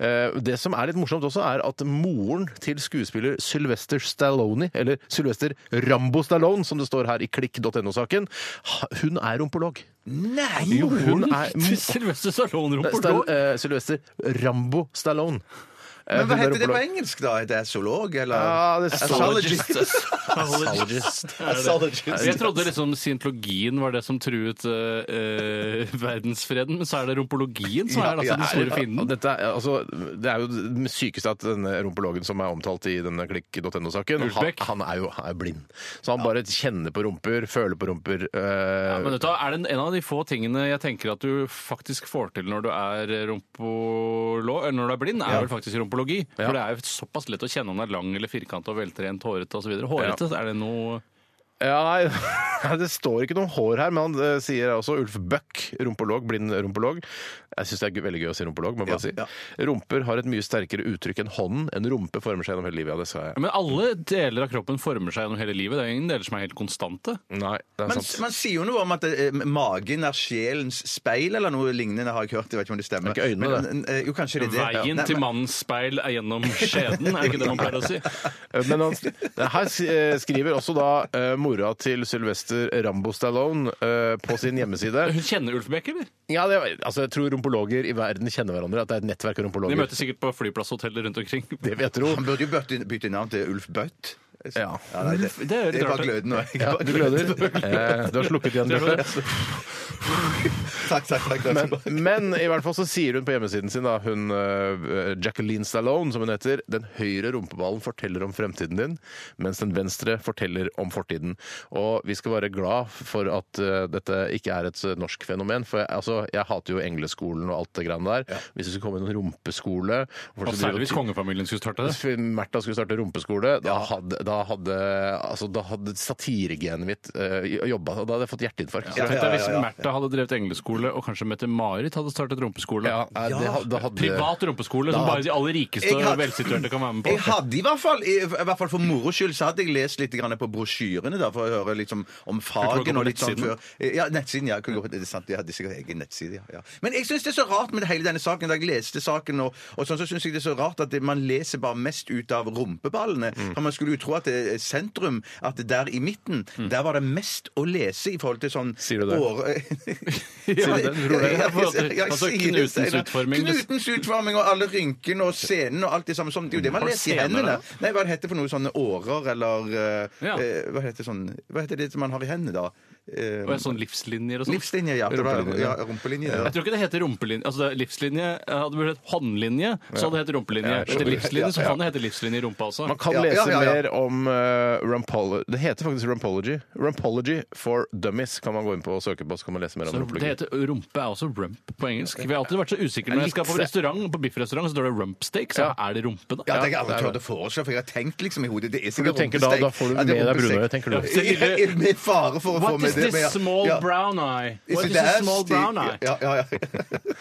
Eh, det som er litt morsomt også, er at moren til skuespiller Sylvester Stallone, eller Sylvester Rambo Stallone, som det står her i klikk.no-saken, ha- hun er rumpolog. Nei! Jo, hun er Sylvester Stall, Stallone-rumpa! eh, Sylvester Rambo Stallone. Eh, Men hva hun er heter det på rumpolog. engelsk, da? Er det zoolog, eller? Ja, det står- Zoologist. Zoologist. Jeg trodde liksom scientologien var det som truet eh, eh, verdensfreden, men så er det rumpologien som er altså, den store Ja, fienden. Dette er, altså, det er jo det sykeste at denne rumpologen som er omtalt i denne klikk.no-saken, han, Ulsbæk. han er jo han er blind. Så han bare kjenner på rumper, føler på rumper. eh, Ja, men vet du, hva, er det en av de få tingene jeg tenker at du faktisk får til når du er rumpolo, eller når du er blind, er vel faktisk rumpologi. For det er jo såpass lett å kjenne om den er lang eller firkant og veltrent, hårete osv. Hårete, er det noe ja, nei, nei, det står ikke noe hår her, men han eh, sier også Ulf Bøck, rumpolog, blind rumpolog. Jeg syns det er gøy- veldig gøy å si rumpolog, må jeg bare Ja, si. Rumper har et mye sterkere uttrykk enn hånden. En rumpe former seg gjennom hele livet. Ja, det sa jeg. Men alle deler av kroppen former seg gjennom hele livet. Det er ingen deler som er helt konstante. Nei, det er Man, sant. man sier jo noe om at eh, magen er sjelens speil, eller noe lignende har jeg ikke hørt. Jeg vet ikke om det stemmer. Det er ikke øynene, det. Men, eh, jo, kanskje det er det. ja. Veien Nei, til men- mannens speil er gjennom skjeden, er ikke det man pleier å si? Eh, Men han, her sk- eh, skriver også da eh, mora til Sylvester Rambo Stallone eh, på sin hjemmeside Hun kjenner Ulf Beck, eller? ja, det, altså, Jeg tror rumpologer i verden kjenner hverandre. At det er et nettverk av De rumpologer. møtes sikkert på flyplasshoteller rundt omkring. Det vil jeg tro. Han burde jo bytte, bytte navn til Ulf Bøtt. Ja. nei, det, det er jo litt jeg rart, bare gløder nå. Jeg Ja, bare du gløder. Eh, du har slukket igjen, Bjarte. Takk, takk, takk. takk. Men i hvert fall så sier hun på hjemmesiden sin, da, hun eh, Jacqueline Stallone, som hun heter, den høyre rumpeballen forteller om fremtiden din, mens den venstre forteller om fortiden. Og vi skal være glad for at eh, dette ikke er et eh, norsk fenomen, for jeg, altså, jeg hater jo engleskolen og alt det greiene der. Hvis det skulle komme en rumpeskole og folk Og skulle drive særlig hvis kongefamilien skulle starte det. Märtha skulle starte rumpeskole, da hadde, da hadde, altså, da hadde satiregenet mitt uh, jobba. Da hadde jeg fått hjerteinfarkt. Ja, Tenk ja, deg ja, hvis ja. Märtha hadde drevet engleskole, og kanskje Mette-Marit hadde startet rumpeskole. Ja, nei, Eh, det ha- da hadde- Privat rumpeskole, som bare de aller rikeste Jeg og hadde- velsituerte kan være med Jeg på. hadde i hvert fall, i, i hvert fall for moro skyld, så hadde jeg lest litt grann på brosjyrene da, for å høre liksom om Kunne du gå fagen på og litt sånn nettsiden? før. Ja, nettsiden, ja. Kunne gå på, det er sant, jeg hadde sikkert egen nettside, ja. ja. Men jeg syns det er så rart med hele denne saken. Da jeg leste saken, og, og sånn, så syns jeg det er så rart at det, man leser bare mest ut av rumpeballene. Mm. For man skulle jo tro at det, er sentrum, at det der i midten, Mm. der var det mest å lese i forhold til sånn Sier du det? Åre... Ja, det tror jeg. Ja, jeg- jeg Altså, sier det, Knutens Steinar. utforming, det- Knutens utforming og alle rynkene og senene og alt det samme. Sånn. Det er jo det man Har du leser i sener, hendene. da? Nei, hva heter det for noe sånne årer eller eh, Ja. eh, hva, heter sånn, hva heter det som man har i hendene, da? Eh, Og sånn livslinjer og sånn. livslinje, ja. Det var, ja rumpelinje. Jeg tror ikke det heter rumpelinje. Altså, det er livslinje eh, Hadde det blitt håndlinje, så hadde det hett rumpelinje. Ja, jeg Etter skjønner. livslinje, så kan det hete livslinje i rumpa også. Man kan Ja, lese ja, ja, ja. mer om uh, rumpolo... Det heter faktisk rumpology. Rumpology for dummies kan man gå inn på og søke på, så kan man lese mer om Så det rumpology. heter rumpe er også rump på engelsk. Vi har alltid vært så usikre når jeg skal på restaurant, på biffrestaurant, så står det rump steak, så er det rumpe, Ja, da? det har jeg aldri turt å foreslå, for jeg har tenkt liksom i hodet det er Du sikkert tenker da, rumpesteik. da får du Ja, med det er deg rumpesteik. brunøye, tenker du. Ja. Så ille- Jeg- jeg- Med fare for å få What med is det. men ja. this small Ja. brown eye? Is What it is this ass? small brown eye? Ja, ja, ja.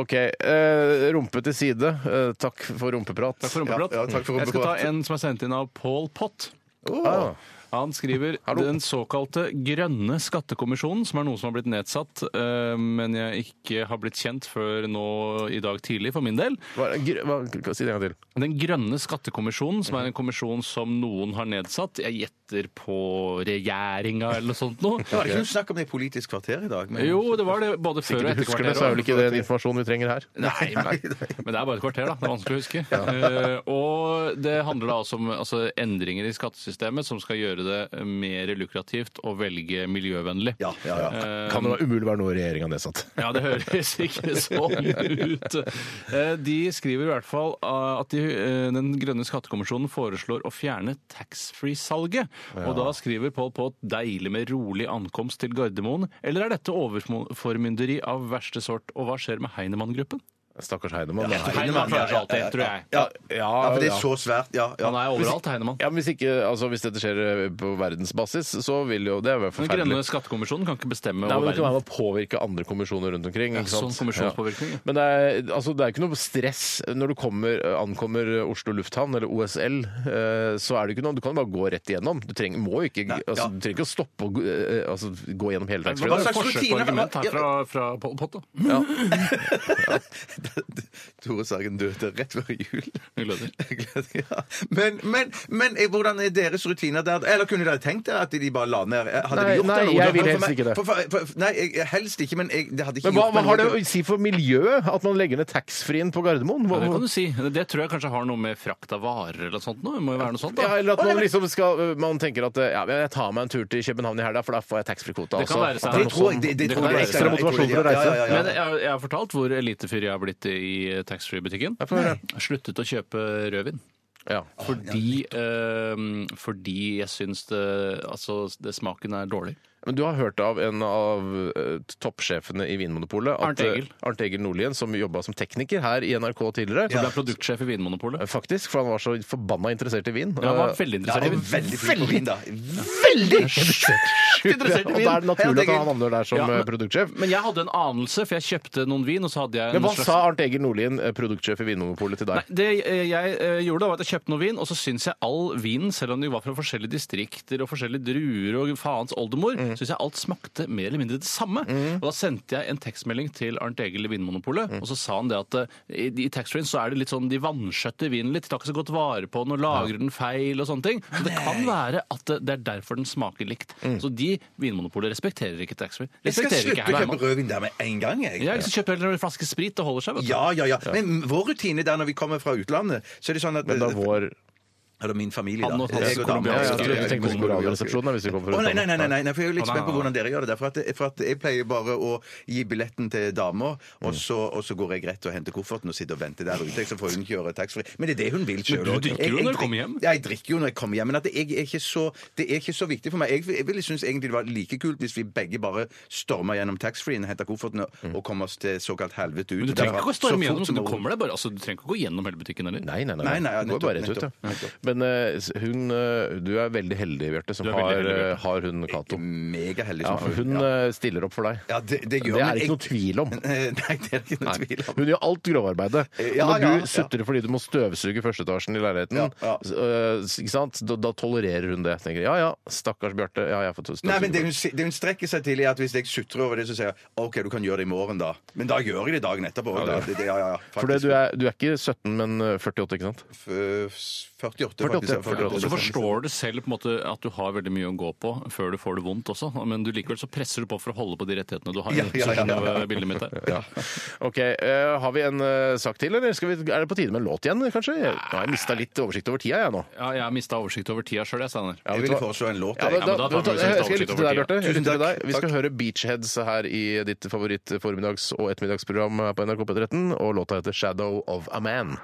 OK. eh, rumpe til side. Eh, takk for rumpeprat. Takk for rumpeprat. Ja, ja, takk for Oh. Jeg skal ta rumpeprat. en som er sendt inn av Paul Pott. Ah. Han skriver Hallo. den såkalte grønne skattekommisjonen, som er noe som har blitt nedsatt, eh, men jeg ikke har blitt kjent før nå i dag tidlig, for min del. Hva, gr hva, si det en gang til. Den grønne skattekommisjonen, som er en kommisjon som noen har nedsatt, jeg gjetter på regjeringa eller noe sånt noe. Var det ikke noe snakk om det i Politisk kvarter i dag? men- Jo, det var det både før og Du etter husker det, så er vel kvarteret. ikke det den informasjonen vi trenger her. Nei, men, men det er bare et kvarter, da. Det er vanskelig å huske. Eh, og det handler da også om altså, endringer i altså, skattesystemet som skal gjøre gjøre det mer lukrativt å velge miljøvennlig. Ja, ja, ja. Eh, Kan det da umulig være noe regjeringa nedsatt? ja, det høres ikke sånn ut. Eh, De skriver i hvert fall eh, at de, eh, Den grønne skattekommisjonen foreslår å fjerne taxfree-salget. Og da skriver Pål Pott 'deilig med rolig ankomst til Gardermoen'. Eller er dette overformynderi av verste sort? Og hva skjer med Heinemann-gruppen? Stakkars Heidemann. Ja, da. Heinemann ja, ja, ja, klarer seg ja, alltid, tror jeg. Ja, ja, Ja, for det ja. er så svært. Ja, ja. Han er overalt, Heinemann. Ja, men hvis, ikke, altså, hvis dette skjer eh, på verdensbasis, så vil jo det være Den forferdelig. grønne skattekommisjonen kan ikke Nei, bestemme men over det kan være verden. med å påvirke andre kommisjoner rundt omkring. Ja, Ikke sant? sånn kommisjonspåvirkning, ja. Men det er, altså, det er ikke noe stress når du kommer, ankommer Oslo lufthavn, eller OSL. eh, Så er det ikke noe, du kan bare gå rett igjennom. Du trenger, må jo ikke, Nei, ja. altså, du trenger ikke å stoppe og gå- eh, altså, gå gjennom hele Det var taxfree. Hva et slags forsøk på rutiner- argument her fra, fra Pål Pott, da. Tore Sagen døde rett før jul. Vi gleder. Ja. Men, men, men eh, hvordan er deres rutiner der? Eller kunne dere tenkt dere at de bare la ned? Eh, Hadde Nei, de gjort nei, det? eller? jeg vil For helst meg- ikke det. For, for, for, nei, jeg, helst ikke, men jeg, det hadde ikke Men hva, gjort hva meg har det noe. å si for miljøet at man legger ned taxfree-en på Gardermoen? Ja, Hva, det kan du si. Det tror jeg kanskje har noe med frakt av varer eller noe sånt nå. Det må jo være noe sånt, da. ja, eller at man liksom skal Man tenker at eh, ja, men jeg tar meg en tur til København i helga, for da får jeg taxfree-kvota. Det kan altså. være sånn. At det Det er noe sånn- tror jeg, det, det Det tror kan jeg, være jeg ekstra jeg tror motivasjon det- for å reise. Ja, ja, ja, Men jeg, jeg har fortalt hvor elitefyr jeg har blitt i taxfree-butikken. Ja, få høre. Sluttet å kjøpe rødvin. Ja. Fordi, eh, fordi jeg syns det, altså, det, smaken er dårlig. Men du har hørt av en av eh, toppsjefene i Vinmonopolet, at, Arnt Egil. eh, Arnt Egil Nordlien, som jobba som tekniker her i NRK tidligere. Så ble jeg produktsjef i Vinmonopolet. Faktisk, for han var så forbanna interessert i vin. Eh, Ja, han var veldig ja. interessert i Jeg er vin. veldig flink på vin, da. Sjukt interessert i vin! Og da er det Arnt naturlig at Egil. han havner der som Ja, eh, men- produktsjef. Men jeg hadde en anelse, for jeg kjøpte noen vin, og så hadde jeg Men en hva sa Arnt Egil Nordlien, eh, produktsjef i Vinmonopolet, til Nei, deg? det eh, jeg eh, gjorde da var at jeg kjøpte noe vin, og så syns jeg all vinen, selv om de var fra forskjellige distrikter og forskjellige druer og faens oldemor, Mm. synes syns jeg alt smakte mer eller mindre det samme. Og da sendte jeg en tekstmelding til Arnt Egil i Mm. Vinmonopolet, og så sa han det at eh, i, i taxfree-en så er det litt sånn de vanskjøtter vinen litt, de tar ikke så godt vare på den og lagrer den feil og sånne ting. Så det kan være at det- det er derfor den smaker likt. Så de, Vinmonopolet, respekterer ikke taxfree. Mm. Jeg skal Respekterer slutte ikke å kjøpe Herman. rødvin der med en gang, jeg. Ja, ikke så kjøper heller en flaske sprit, det holder seg, vet du. Ja, ja, ja. Men vår rutine der når vi kommer fra utlandet, så er det sånn at Men da vår Eller min familie, Han og da. hans Jeg og kolumbianske- damen. ja, jeg ja, trodde ja, du tenkte på Moralresepsjonen hvis vi kommer Å, fra nei, nei, utlandet. nei, nei, nei, for jeg er litt Å, nei, spent på nei, nei. hvordan dere gjør det. der, For at, for at jeg pleier bare å gi billetten til damer, Mm. og så, og så går jeg rett og henter kofferten og sitter og venter der ute. Så får hun kjøre taxfree. Men det er det hun vil sjøl. du drikker jo når du kommer hjem. Ja, jeg drikker jo når jeg kommer hjem. Men at jeg er ikke så, det er ikke så viktig for meg. Jeg, jeg ville synes egentlig det var like kult hvis vi begge bare storma gjennom taxfree-en, henter kofferten og, og kom oss til såkalt helvete ut. Mm. Men du trenger ikke å Så fort storme gjennom, som så du overhodet. kommer deg bare, altså, du trenger ikke å gå gjennom hele butikken heller. Nei, nei, nei. Nei, nei, ja, det går bare rett nettopp, ut, ja. Men eh, hun eh, Du er veldig heldig, Bjarte, som Du er har, veldig heldig, eh, Bjarte. har hun Cato. Megaheldig. Ja, som får- hun ja. eh, stiller opp for deg. Ja, det, det Det gjør men er ikke jeg- noe tvil om. Nei, det er det ikke noe Nei. tvil om. Hun gjør alt grovarbeidet. Og Ja, når ja, du ja. sutrer fordi du må støvsuge førsteetasjen i leiligheten, Ja, ja. s- øh, ikke sant? Da, da tolererer hun det. Tenker, ja ja, stakkars Bjarte. Ja, jeg får støvsuge. Nei, men det hun, si- det hun strekker seg til, er at hvis jeg sutrer over det, så sier jeg OK, du kan gjøre det i morgen, da. Men da gjør jeg det dagen etterpå. Ja, da. det, det, ja, ja, ja, for det, du, er, du er ikke 17, men øh, 48, ikke sant? F- 48, 48, faktisk. Og så 48. forstår du selv på en måte at du har veldig mye å gå på før du får det vondt også, men du likevel så presser du på for å holde på de rettighetene du har. Ja, ja, ja, ja. Så skjønner du bildet mitt her. OK. øh, har vi en øh, sak til, eller skal vi, er det på tide med en låt igjen, kanskje? Jeg, nå har jeg mista litt oversikt over tida, jeg nå. Ja, jeg har mista oversikt over tida sjøl, jeg, Steinar. Jeg ville foreslå en låt. Ja, da, jeg. men da, da da, tar vi oss litt jeg skal lytte til deg, Bjarte. Jeg oversikt over tida. lytter til Tusen deg. Vi skal takk. høre Beachheads her i ditt favoritt-formiddags- og ettermiddagsprogram her på NRK på 13, og låta heter 'Shadow of a Man'.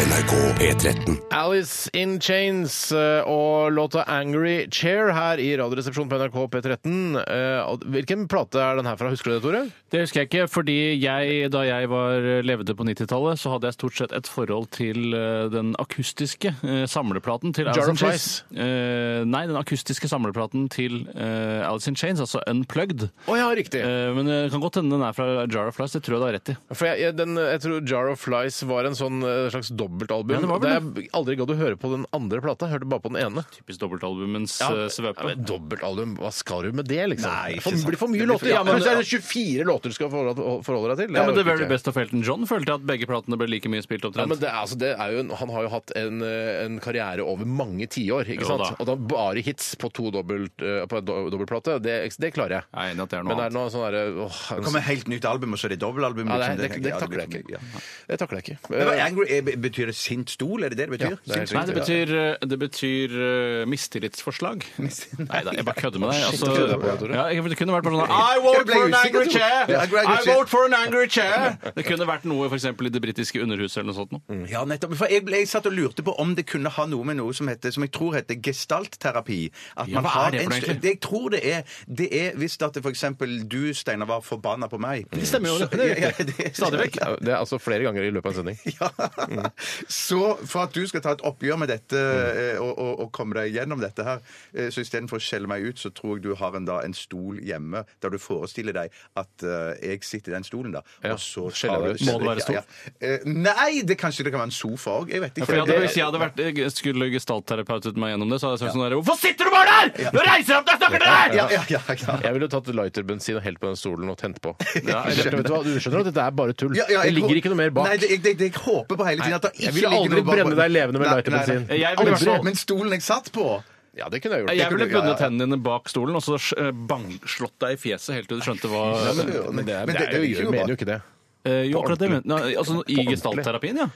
NRK P13. Alice in Chains eh, og låta 'Angry Chair' her i Radioresepsjonen på NRK P13. Eh, og Hvilken plate er den her fra? Husker du det, Tore? Det husker jeg ikke, fordi jeg, da jeg var, eh, levde på 90-tallet, så hadde jeg stort sett et forhold til eh, den akustiske eh, samleplaten til Jar Alice in of Chains. Eh, nei, den akustiske samleplaten til eh, Alice in Chains, altså Unplugged. Å ja, riktig. Eh, men det kan godt hende den er fra Jar of Flies, det tror jeg du har rett i. For jeg, jeg, den, jeg tror Jar of Flies var en sånn eh, slags dobbeltalbum. Ja, det var vel der jeg aldri gadd å høre på den andre plata. Jeg hørte bare på den ene. Typisk dobbeltalbumens eh, svøpe. men dobbeltalbum, hva skal du med det, liksom? Nei, ikke for, det sant. blir for mye Det blir for- låter. ja, men- Plutselig er det 24 låter du skal forholde, forholde deg til. Ja, men Det The orker Very ikke jeg. Best of Elton John følte jeg at begge platene ble like mye spilt Ja, omtrent. men det, er- altså, det er jo en, han har jo hatt en, eh, en karriere over mange tiår. ikke Jo sant? da. Og da bare hits på to dobbelt, eh, på en do, dobbeltplate, det, det klarer jeg. Jeg er enig at det er noe Men det er annet. noe sånn derre åh, Det kommer et helt nytt album, og så er det dobbeltalbum. ja, det, liksom. det, det, ja, takler blir jeg for mye, ikke. Det takler jeg ikke. ja. Men Eh, angry, eh, betyr det sint stol? Er det det det betyr? det er Sint Nei, stol, det ja. betyr, det betyr eh, mistillitsforslag. Nei da, jeg bare kødder med deg. Altså, du kødder på det, Tore. ja, jeg- det kunne vært bare sånn I vote for an angry chair! Ja, jeg ble I usikker. vote for an angry chair! ah, Det kunne vært noe for eksempel i det britiske underhuset eller noe sånt. nå. Mm. Mm. Ja, nettopp. For jeg, ble, jeg satt og lurte på om det kunne ha noe med noe som, heter, som jeg tror heter gestaltterapi. At Ja, man hva har er det for en noe st- egentlig? Jeg tror det er Det er hvis at det for eksempel du, Steinar, var forbanna på meg. Det stemmer jo, det. Det er riktig. Stadig vekk. Ja, Det er altså flere ganger i løpet av en sending. Ja. Så for at du skal ta et oppgjør med dette eh, og, og, og komme deg gjennom dette her, eh, så istedenfor å skjelle meg ut, så tror jeg du har en, da, en stol hjemme der du forestiller deg at eh, jeg sitter i den stolen, da, Ja, og så skjeller du tar jeg- ut. Må det være stol? Ja, ja. Eh, Nei! Det, kanskje det kan være en sofa òg. Jeg vet ikke. Fordi at Hvis jeg hadde vært, jeg skulle gestaltterapeutet meg gjennom det, så hadde jeg sagt sånn der Hvorfor sitter du bare der?! Nå reiser jeg opp deg og snakker til deg! ja, ja, ja, ja. Jeg ville tatt lighterbensin og helt på den stolen og tent på. Ja, jeg Vet du hva, du skjønner at dette er bare tull. Ja, ja, det jeg ligger hå- ikke noe mer bak. Nei, det, jeg, det, det, jeg håper på hele tiden at det ikke jeg ville aldri ligger noe bak- brenne deg levende med Nei, lighterbensin. nei, nei. Jeg ville i hvert fall- Men stolen jeg satt på Ja, det kunne jeg gjort. Jeg Det ville kunne- bundet hendene dine bak stolen og så eh, bang, slått deg i fjeset helt til du skjønte hva men det gjør- Men det er, men det er det- det er jo, ikke jeg noe mener jo bak. ikke det. Eh, Jo, akkurat det. men- Nei, altså, I ordentlig. gestaltterapien, ja.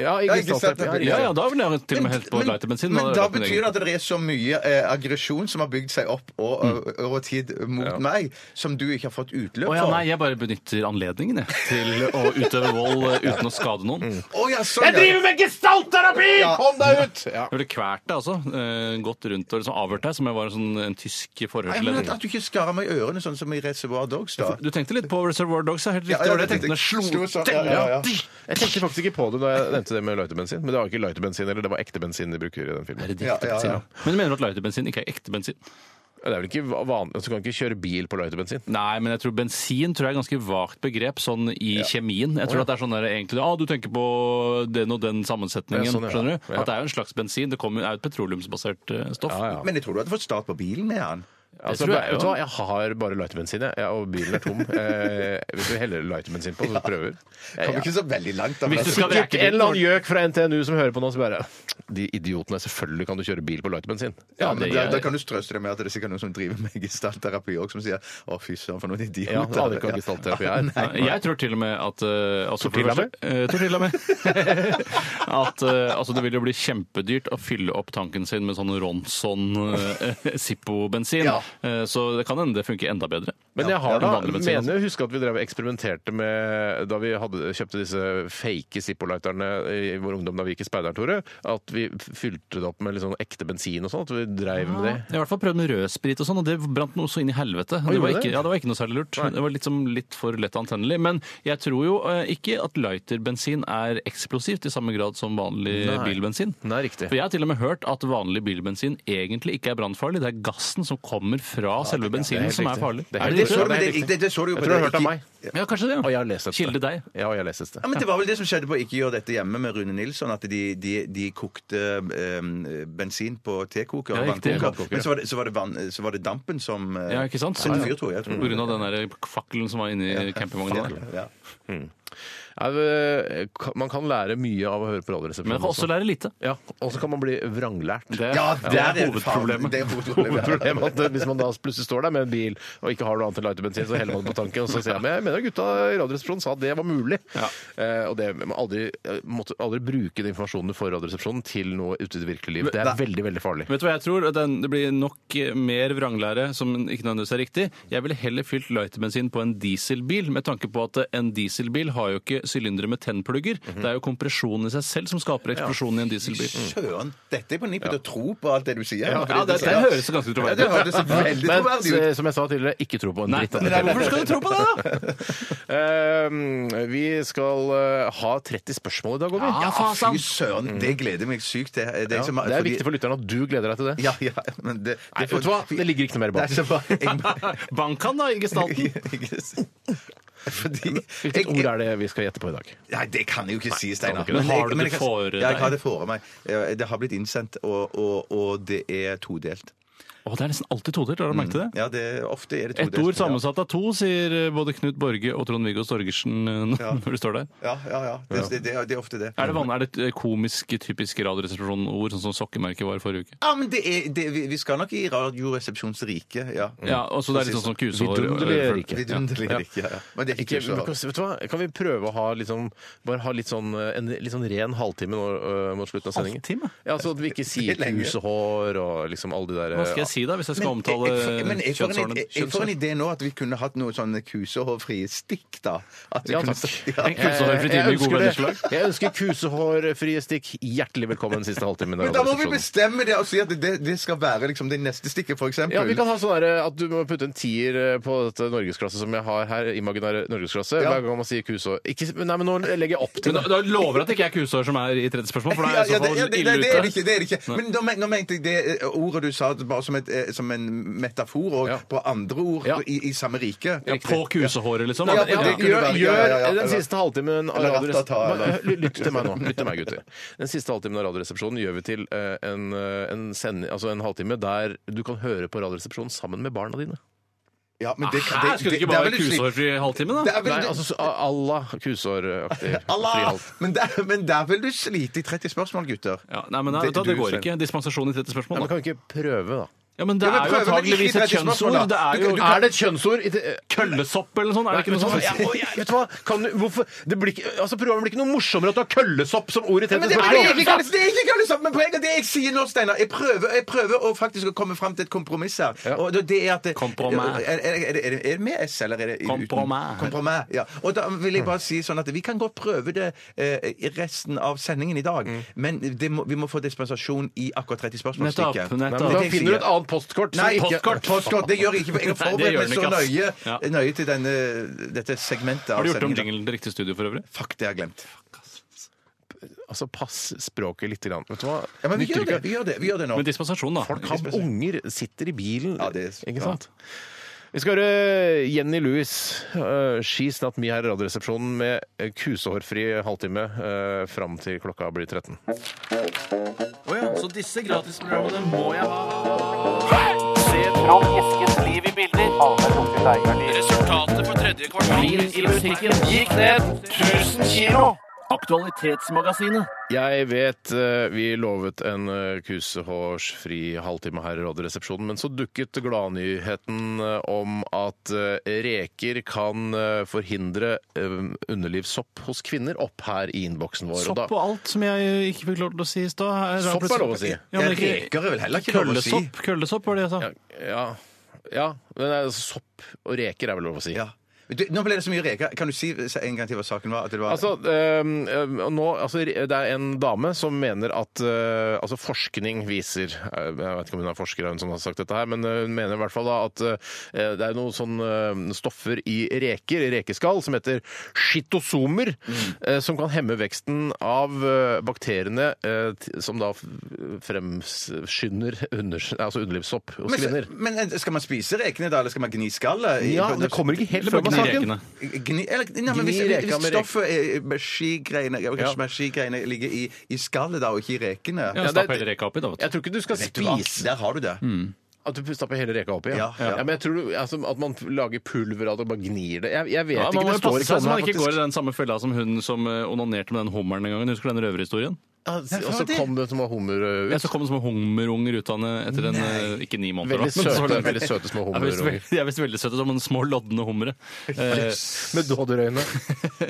Ja, Ja, ikke ikke sant? sant, det- Ja, ja, da ville jeg til og med helt på men, lighterbensin. men hadde da vært min egen. betyr det at det er så mye eh, aggresjon som har bygd seg opp og, og, over tid mot meg, som du ikke har fått utløp Å for. ja, nei, jeg bare benytter anledningen jeg, til å utøve vold eh, uten å skade noen. Å, ja, sånn, jeg driver med gestaltterapi! Ja. Kom deg ut! Ja. Jeg ville kvært deg, altså. eh, Gått rundt og liksom avhørt deg som om jeg var en, sånn, en tysk Nei, men at, forhørsleder. at du ikke skarrer meg i ørene, sånn som i Reservoir Dogs, da. Du tenkte litt på Reservoir Dogs, ja. Helt riktig. Ja, det ja, var det jeg det- tenkte. Slo slo sånn, ja, ja, ja. Jeg tenkte faktisk ikke på det da jeg nevnte det med lighterbensin, men det var ikke lighterbensin, eller det var ekte bensin de bruker i den filmen. Er det Ja, ekte ja, bensin, ja. da? Men du mener at lighterbensin ikke er ekte bensin? Det er vel ikke vanlig, altså, Du kan ikke kjøre bil på lighterbensin. Nei, men jeg tror bensin tror jeg er ganske vagt begrep sånn i kjemien. Jeg tror at det er sånn der egentlig ah, du tenker på den og den sammensetningen, Ja, sånn, ja. skjønner du? Ja. At det er jo en slags bensin. Det kommer, er jo et petroleumsbasert eh, stoff. Ja, ja. Men jeg tror du hadde fått start på bilen med han. Altså, tror jeg vet jo. du hva, jeg har bare lighterbensin, jeg, og bilen er tom. Eh, hvis du heller lighterbensin på, så prøver Eh, Kom ikke så veldig langt. Da, Hvis du skal Ikke en eller annen gjøk fra NTNU som hører på nå, så bare De idiotene. Selvfølgelig kan du kjøre bil på lighterbensin. Ja, Ja, men det da, gjør da jeg. kan du trøste deg med at det er sikkert noen som driver med gestaltterapi òg, som sier 'Å, fy søren, for noen idioter'. Ja, aner ikke hva gestaltterapi er. Nei. Jeg tror til og med at eh, altså, for det Tortilla første- eh, Tortilla med? at eh, altså, det vil jo bli kjempedyrt å fylle opp tanken sin med sånn Ronson eh, Zippo-bensin. Ja. Eh, så det kan hende det funker enda bedre. Men jeg har Ja, da, den vanlige bensinen, mener jeg husker at vi drev og eksperimenterte med da vi hadde, kjøpte disse fake Zippo-lighterne i vår ungdom da vi gikk i speideren, Tore. At vi fylte det opp med litt sånn ekte bensin og sånn. At vi dreiv med det. Jeg har i hvert fall prøvd med rødsprit og sånn, og det brant noe så inn i helvete. Det var gjorde det? ikke, ja, det var ikke noe særlig lurt. Det var liksom litt for lett antennelig. Men jeg tror jo eh, ikke at lighterbensin er eksplosivt i samme grad som vanlig bilbensin. Nei, riktig. For jeg har til og med hørt at vanlig bilbensin egentlig ikke er brannfarlig. Det er gassen som kommer fra selve bensinen helt som riktig. er farlig. Det er Er helt det Det det? så, du, Ja, det er Jeg men det, det, det så du jo på tror du har det hørt av ikke- meg. Ja, kanskje det. Og jeg Ja. har lest dette. Kilde deg. Ja, og jeg har lest dette. Ja, men Det var vel det som skjedde på Ikke gjør dette hjemme med Rune Nilsson. At de, de, de kokte eh, bensin på tekoker og Ja, riktig. vannkoker. Vannkoker, Men så var, det, så, var det vann, så var det dampen som eh, Ja, ikke sant? Som fyr, tror Mm. jeg. Tror. På grunn av den der fakkelen som var inni campingvogna der. Ja. Ja, det- Man kan lære mye av å høre på Radioresepsjonen. Men jeg kan også lære lite. Ja, og så kan man bli vranglært. Det, Ja, det der er det faen- hovedproblemet. Det er hovedproblemet. ja. Problemet er at Hvis man da plutselig står der med en bil og ikke har noe annet enn lighterbensin, så heller man på tanken, og så sier jeg men jeg mener at gutta i Radioresepsjonen sa at det var mulig. Ja. Eh, og det, man aldri, eh, måtte aldri bruke den informasjonen for Radioresepsjonen til noe ute i det virkelige liv. Det er veldig, veldig farlig. Vet du hva jeg tror? At den, det blir nok eh, mer vranglære som ikke nødvendigvis er riktig. Jeg ville heller fylt lighterbensin på en dieselbil, med tanke på at eh, en dieselbil har jo ikke sylindere med tennplugger. Mhm. Det er jo kompresjonen i seg selv som skaper eksplosjonen i en dieselbil. Søren! Dette er på nippet til å tro på alt det du sier. Ja, det, det høres jo ganske Ja, det troverdig ut. hørtes veldig Men troverdig ut. eh, som jeg sa tidligere, ikke tro på en Nei, dritt. av nei, det hele. hvorfor skal du tro på det, da? Eh, vi skal eh, ha 30 spørsmål i dag, Ovi. Ja, liksom- faen, sant. Fy søren, det gleder jeg meg sykt til. Det, Mm. Ja, det er viktig for lytteren at du gleder deg til det. Ja, ja, men det, Nei, vet du hva? Det ligger ikke noe mer bak. Nei, så bare- jeg- Bank han, da, i gestalten. Fordi Hvilket ord er det vi skal gjette på i dag? Nei, det kan jeg jo ikke si, Steinar. ikke det. Har du det for deg? Jeg deg? har det for meg. Eh, Det har blitt innsendt, og, og, og det er todelt. Å, det er nesten alltid todelt, har du merket det? Ja, det, ofte er det Ett todelt, Mm. ord ja. sammensatt av to, sier eh, både Knut Borge og Trond-Viggo Storgersen eh, når Ja. du står der. Ja, ja, ja. Det, det, det, det er ofte det. Er det, van- er det et, eh, komisk, typisk radioresepsjonord, sånn som sokkemerket var forrige uke? Ja, men det er, det, vi, vi skal nok i Radioresepsjonens rike, ja. Ja, og så det er litt sånn som kusehår. Vidunderlige rike. Vidunderlig Ja. rike, ja. ja. Men det er ikke Ikke, men, kusehår. vet du hva? Kan vi prøve å ha, liksom, bare ha litt sånn, eh, en litt sånn ren halvtime nå, eh, mot slutten av sendingen? Halvtime? Ja, Så at vi ikke sier Litt lenge. kusehår og liksom alle de der Hva skal jeg si da, hvis jeg skal Men omtale jeg- men jeg får en- kjønnshårene? jeg- Jeg får en idé nå at vi kunne hatt noe sånn kusehårfrie stikk, da. At vi Ja, kunne- takk. Ja. En kusehårfri Jeg time i ønsker gode det. venners lag. Jeg ønsker kusehårfrie stikk hjertelig velkommen siste halvtimen. i Men da må vi Radioresepsjonen. bestemme det og si at det, det skal være liksom det neste stikket, for eksempel. Ja, vi kan ha sånn der, at du må putte en tier eh, på dette norgesklasse som jeg har her. Imaginære norgesklasse. Ja. Hver gang man sier kusehår. Ikke, s- nei, men nå legger jeg opp til Men da, da lover jeg at det ikke er kusehår som er i tredje spørsmål, for da Ja, ja, det, er jeg i ja, så det, fall nei, det er ille det ikke. ute. Det er det ikke. Men nå, men- nå mente jeg det eh, ordet du sa bare som, et, eh, som en metafor og Ja. på andre ord Ja. i, i samme rike. Ja, på kusehåret, liksom? Ja, Ja, men det- ja. Gjør, være- ja, ja, ja, gjør den eller- siste halvtimen av eller Radioresepsjonen- ratata, eller- Hør, Lytt til meg nå. Lytt til meg, gutter. Den siste halvtimen av Radioresepsjonen gjør vi til eh, en, eh, en, send, altså en halvtime der du kan høre på Radioresepsjonen sammen med barna dine. Ja, men det, Hæ, skulle det ikke er bare vel være slik- kusehårfri halvtime, Det da? er vel, Nei, altså så- Allah kusehåraktig. Allah! frihalt. Men der, men der vil du slite i 30 spørsmål, gutter. Ja, nei, men da, Det- da, det du, går Svein. ikke. Dispensasjon i tredje Nei, spørsmål, men da. kan vi ikke prøve, da? Ja, men det Ja, men er jo prøv, men ikke i antageligvis tredje et spørsmål, kjønnsord. da. Det er Du- jo du Er det et kjønnsord? i det- Køllesopp eller noe sånt? Er det Nei, ikke noe men sånt? hva- jeg- og jeg- vet du hva? Kan, du- hvorfor, det blir ikke, altså, programmet blir ikke noe morsommere at du har køllesopp som ord i Men det, er tredje egentlig ikke alle- det er egentlig ikke alle sammen, men poenget er det jeg sier nå, Steinar. Jeg prøver, jeg prøver å faktisk å komme fram til et kompromiss her. Og det er at Kompromiss. Er, er, er, er, er det med S, eller er det uten? Kompromiss. Kompromiss, ja. Og da vil jeg bare si sånn at vi kan godt prøve det eh, i resten av sendingen i dag, Mm. men det må, vi må få dispensasjon i akkurat 30 spørsmål-stykket. Nettopp, nettopp. Nei, men Det er da det jeg finner du sier. et annet postkort. som Nei, ikke- postkort. postkort. Det gjør jeg ikke. for Jeg har Nei, det forberedt meg gjør den så ikke, ass. nøye, Ja. nøye til denne, dette segmentet. av Har du gjort om sendingen. jinglen til riktig studio for øvrig? Fuck, det har jeg glemt. Altså, pass språket litt. Grann. Vet du hva? Ja, men vi Nytter gjør det, ikke. vi gjør det, vi gjør det nå. Med dispensasjon, da. Folk har unger, sitter i bilen. Ja, det er- ikke sant? Vi skal høre Jenny Louis, eh, 'She's Not Me' her i Radioresepsjonen med eh, kusehårfri halvtime eh, fram til klokka blir 13. Så disse gratisprogrammene må jeg ha. Se Trond Eskens liv i bilder. Resultatet for tredje kvartal i musikken gikk ned 1000 kilo. Aktualitetsmagasinet. Jeg vet eh, vi lovet en eh, kusehårsfri halvtime her i Radioresepsjonen, men så dukket gladnyheten eh, om at eh, reker kan eh, forhindre eh, underlivssopp hos kvinner opp her i innboksen vår. Og da- Sopp og alt som jeg ikke fikk lov til å si i stad. Sopp er lov å si. Ja, men ikke- Reker er vel heller ikke lov å si. Køllesopp, køllesopp var det jeg sa. Ja, ja, men det er sopp og reker er vel lov å si. Ja. Du, nå ble det så mye reker. Kan du si en gang til hva saken var? At det var Altså, øhm, øhm, og nå, altså, det er en dame som mener at øh, altså, forskning viser øh, Jeg vet ikke om hun er forsker, hun som har sagt dette her, men øh, hun mener i hvert fall da at øh, det er noen sånne øh, stoffer i reker, i rekeskall, som heter skitosomer, øh, som kan hemme veksten av øh, bakteriene øh, t- som da f- fremskynder under, altså underlivssopp hos men, kvinner. men eh, skal man spise rekene da, eller skal man gni skallet? Ja, det kommer ikke helt Eller bare frem av gni saken. rekene. Gni, eller, nei, men Gni hvis, reka hvis med rek- stoffet er- er skigreiene ja, Ja. kanskje skigreiene ligger i, i skallet da, og ikke i rekene Ja, Mm. det- Stapp hele reka oppi, da. vet du. Jeg tror ikke du skal Vet du hva? spise Der har du det. At du stapper hele reka oppi? Ja. Ja, ja. ja. men jeg tror du, altså, At man lager pulver av det og bare gnir det? Jeg, jeg vet Ja, ikke. man må Det jo står ikke passe seg så sånn man her, ikke går i faktisk. den samme fella som hun som eh, onanerte med den hummeren den gangen. Husker du den røverhistorien? Ja, Nei, og faen, så det- kom det som var hummer Ja, ut. så kom det små hummerunger ut av henne etter en Nei. eh, Ikke ni måneder, Veldig da, men så søte, langt. veldig søte små Ja, visst hummerunger. veldig- De er visst veldig søte, som en små lodne hummere. Eh, Med dådyrøyne.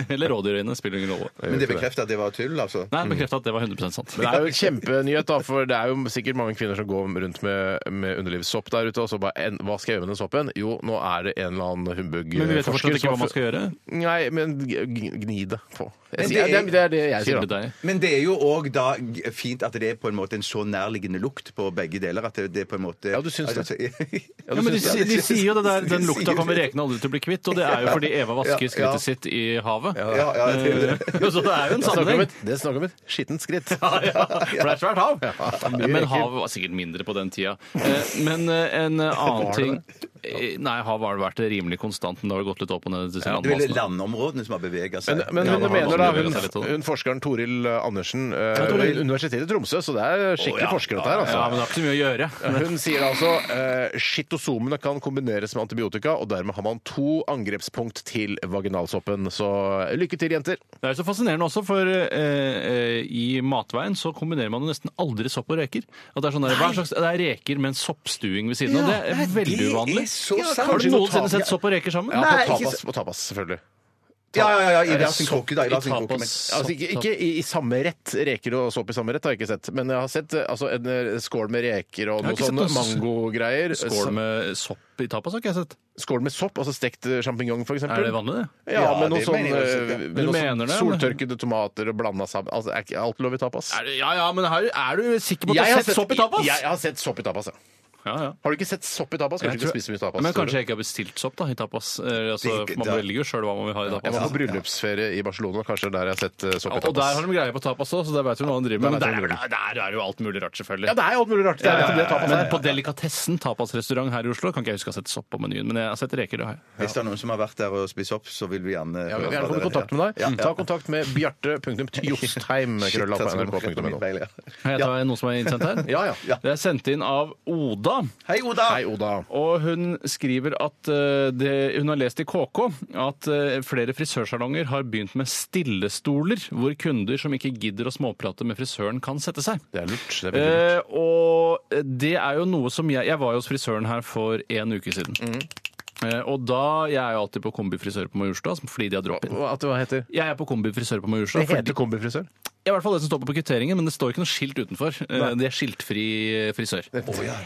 eller rådyrøyne, spiller ingen rolle. Men det bekrefter at det var tull, altså. Nei, bekrefta at det var 100 sant. Men det er jo en kjempenyhet, da, for det er jo sikkert mange kvinner som går rundt med, med underlivssopp der ute, og så bare en, Hva skal jeg gjøre med den soppen? Jo, nå er det en eller annen humbug Men vi vet jo fortsatt ikke hva man skal gjøre. Nei, men g- g- gni det på. Jeg Men sier, det, det er- er, det er det jeg sier, Kilde da. deg. Men det er jo òg da g- fint at det er på en måte en så nærliggende lukt på begge deler at det det er på en måte Ja, du syns det. Ja, men de, synes- si- de sier jo det der, den De lukta sier kommer det. rekene aldri til å bli kvitt, og det er jo fordi Eva Ja, vasker ja. skrittet sitt i havet. Ja, ja, det er jo det. Eh, Så det er jo en Det er snakk om sammenheng. et- Det er snakk om et skittent skritt. Ja, ja. For det er svært hav. Ja, mye Men reker. havet var sikkert mindre på den tida. Eh, Men eh, en eh, annen Var det ting eh, Nei, har bare vært rimelig konstant, men det har gått litt opp og ned. disse Det er vel landmassene. landområdene som har beveget seg. Men, men Ja, hun det har mener da, vanskelig å hun, gjøre seg litt om. hun forskeren Toril Andersen eh, Toril. ved Universitetet i Tromsø, så det er skikkelig Å, ja. forskere dette her, altså. Ja, men det har ikke så mye å gjøre. Hun sier altså uh, skitosomene kan kombineres med antibiotika, og dermed har man to angrepspunkt til vaginalsoppen. Så eh, lykke til, jenter. Det er jo så fascinerende også, for eh, eh, i matveien så kombinerer man jo nesten aldri sopp og reker. At det er sånn der, hva slags, det er reker med en soppstuing ved siden av. Det er veldig uvanlig. Har du noensinne sett sopp og reker sammen? Ja, Nei, på, ikke tapas, på tapas, selvfølgelig. Ja, ja, ja, i Er det hver sin krukke, da. I hver sin krukke. Men, Eh, tapas- Altså, ikke ikke i, i samme rett. Reker og sopp i samme rett har jeg ikke sett. Men jeg har sett eh, altså, en eh, skål med reker og Jeg har noe ikke sånn sett noe s- mangogreier. Skål med sopp i tapas har ikke jeg sett. skål med sopp, altså stekt sjampinjong, f.eks. Er det vanlig, det? Ja, Ja, med noe det sånn, mener jeg også, ja. eh, Du med noe mener sånn det, men- soltørkede tomater og blanda sammen. Altså, er ikke alt lov i tapas? Er det ja ja, men her, er du sikker på at du har sett sopp i tapas? Jeg, jeg har sett sopp i tapas, ja. ja, ja. Har du ikke sett sopp i tapas? Kanskje ikke Jeg tror- du spiser mye tapas. Men tror kanskje du? jeg ikke har bestilt sopp da, i tapas. Eh, altså, Det- man det- velger jo sjøl hva man vil ha i Jeg var tapas. på bryllupsferie i Barcelona, kanskje det er der jeg har sett eh, sopp i Og og der tapas. har de greie på tapas òg, så der veit du hva han driver med. Men Der der, vet er du det- der er det jo alt mulig rart, selvfølgelig. Ja, det er jo alt mulig rart. Det er nettopp det tapas Men er. på delikatessen tapasrestaurant her i Oslo kan ikke jeg huske å ha sett sopp på menyen, men jeg har sett reker. det har jeg. hvis det er noen som har vært der og spist opp, så vil vi gjerne Jeg vil gjerne komme i kontakt med deg. Ta kontakt med bjarte.tjostheim. krøllalfa, nrk.no. Kan jeg ta en- noe som er innsendt her? Ja, ja, ja. Det er sendt inn av Oda. Hei, Oda! Hei, Oda. Og hun skriver at eh, det, hun har lest i KK at eh, flere frisørsalonger har begynt med stillestoler, hvor kunder som ikke gidder å småprate med frisøren, kan sette seg. Det er lurt. Det er veldig lurt. Eh, og eh, det er jo noe som jeg Jeg var jo hos frisøren her for en uke siden. Mm. Eh, og da Jeg er jo alltid på kombifrisør på Majorstua fordi de har drop-in. Hva- at- Hva heter Jeg er på kombifrisør på Majorstua. det? Heter kombifrisør? Ja, i hvert fall det som står på kvitteringen, men det står ikke noe skilt utenfor. Eh, Det er skiltfri eh, frisør.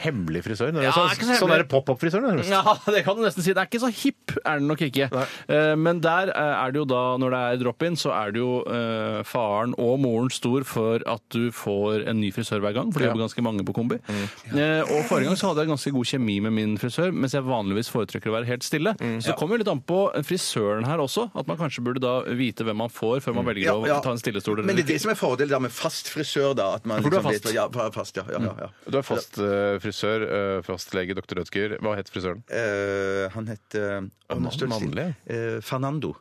Hemmelig frisør? Det er Ja, sånn- ikke så hemmelig. Sånn er det pop-opp-frisør? nærmest. Ja, det kan du nesten si. Det er ikke så hipp, er det nok ikke. Eh, Men der eh, er det jo da, når det er drop-in, så er det jo eh, faren og moren stor for at du får en ny frisør hver gang, for det jobber ganske mange på kombi. Mm. Eh, Og forrige gang så hadde jeg ganske god kjemi med min frisør, mens jeg vanligvis foretrekker å være helt stille. Mm. Så det kommer jo litt an på frisøren her også, at man kanskje burde da vite hvem man får før man velger Mm. Ja, ja. å ta en stillestol. eller Men det er ikke. det som er fordelen da med fast frisør, da. At man For du er liksom fast. vet- Ja, fa- fast, ja. ja, ja, ja. Du er fast eh, frisør, eh, fastlege, dr. Rødtger. Hva het frisøren? Eh, han het eh, å, nå står det stille. Mannlig? Eh, Fernando.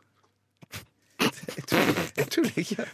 Jeg tuller jeg tuller ikke.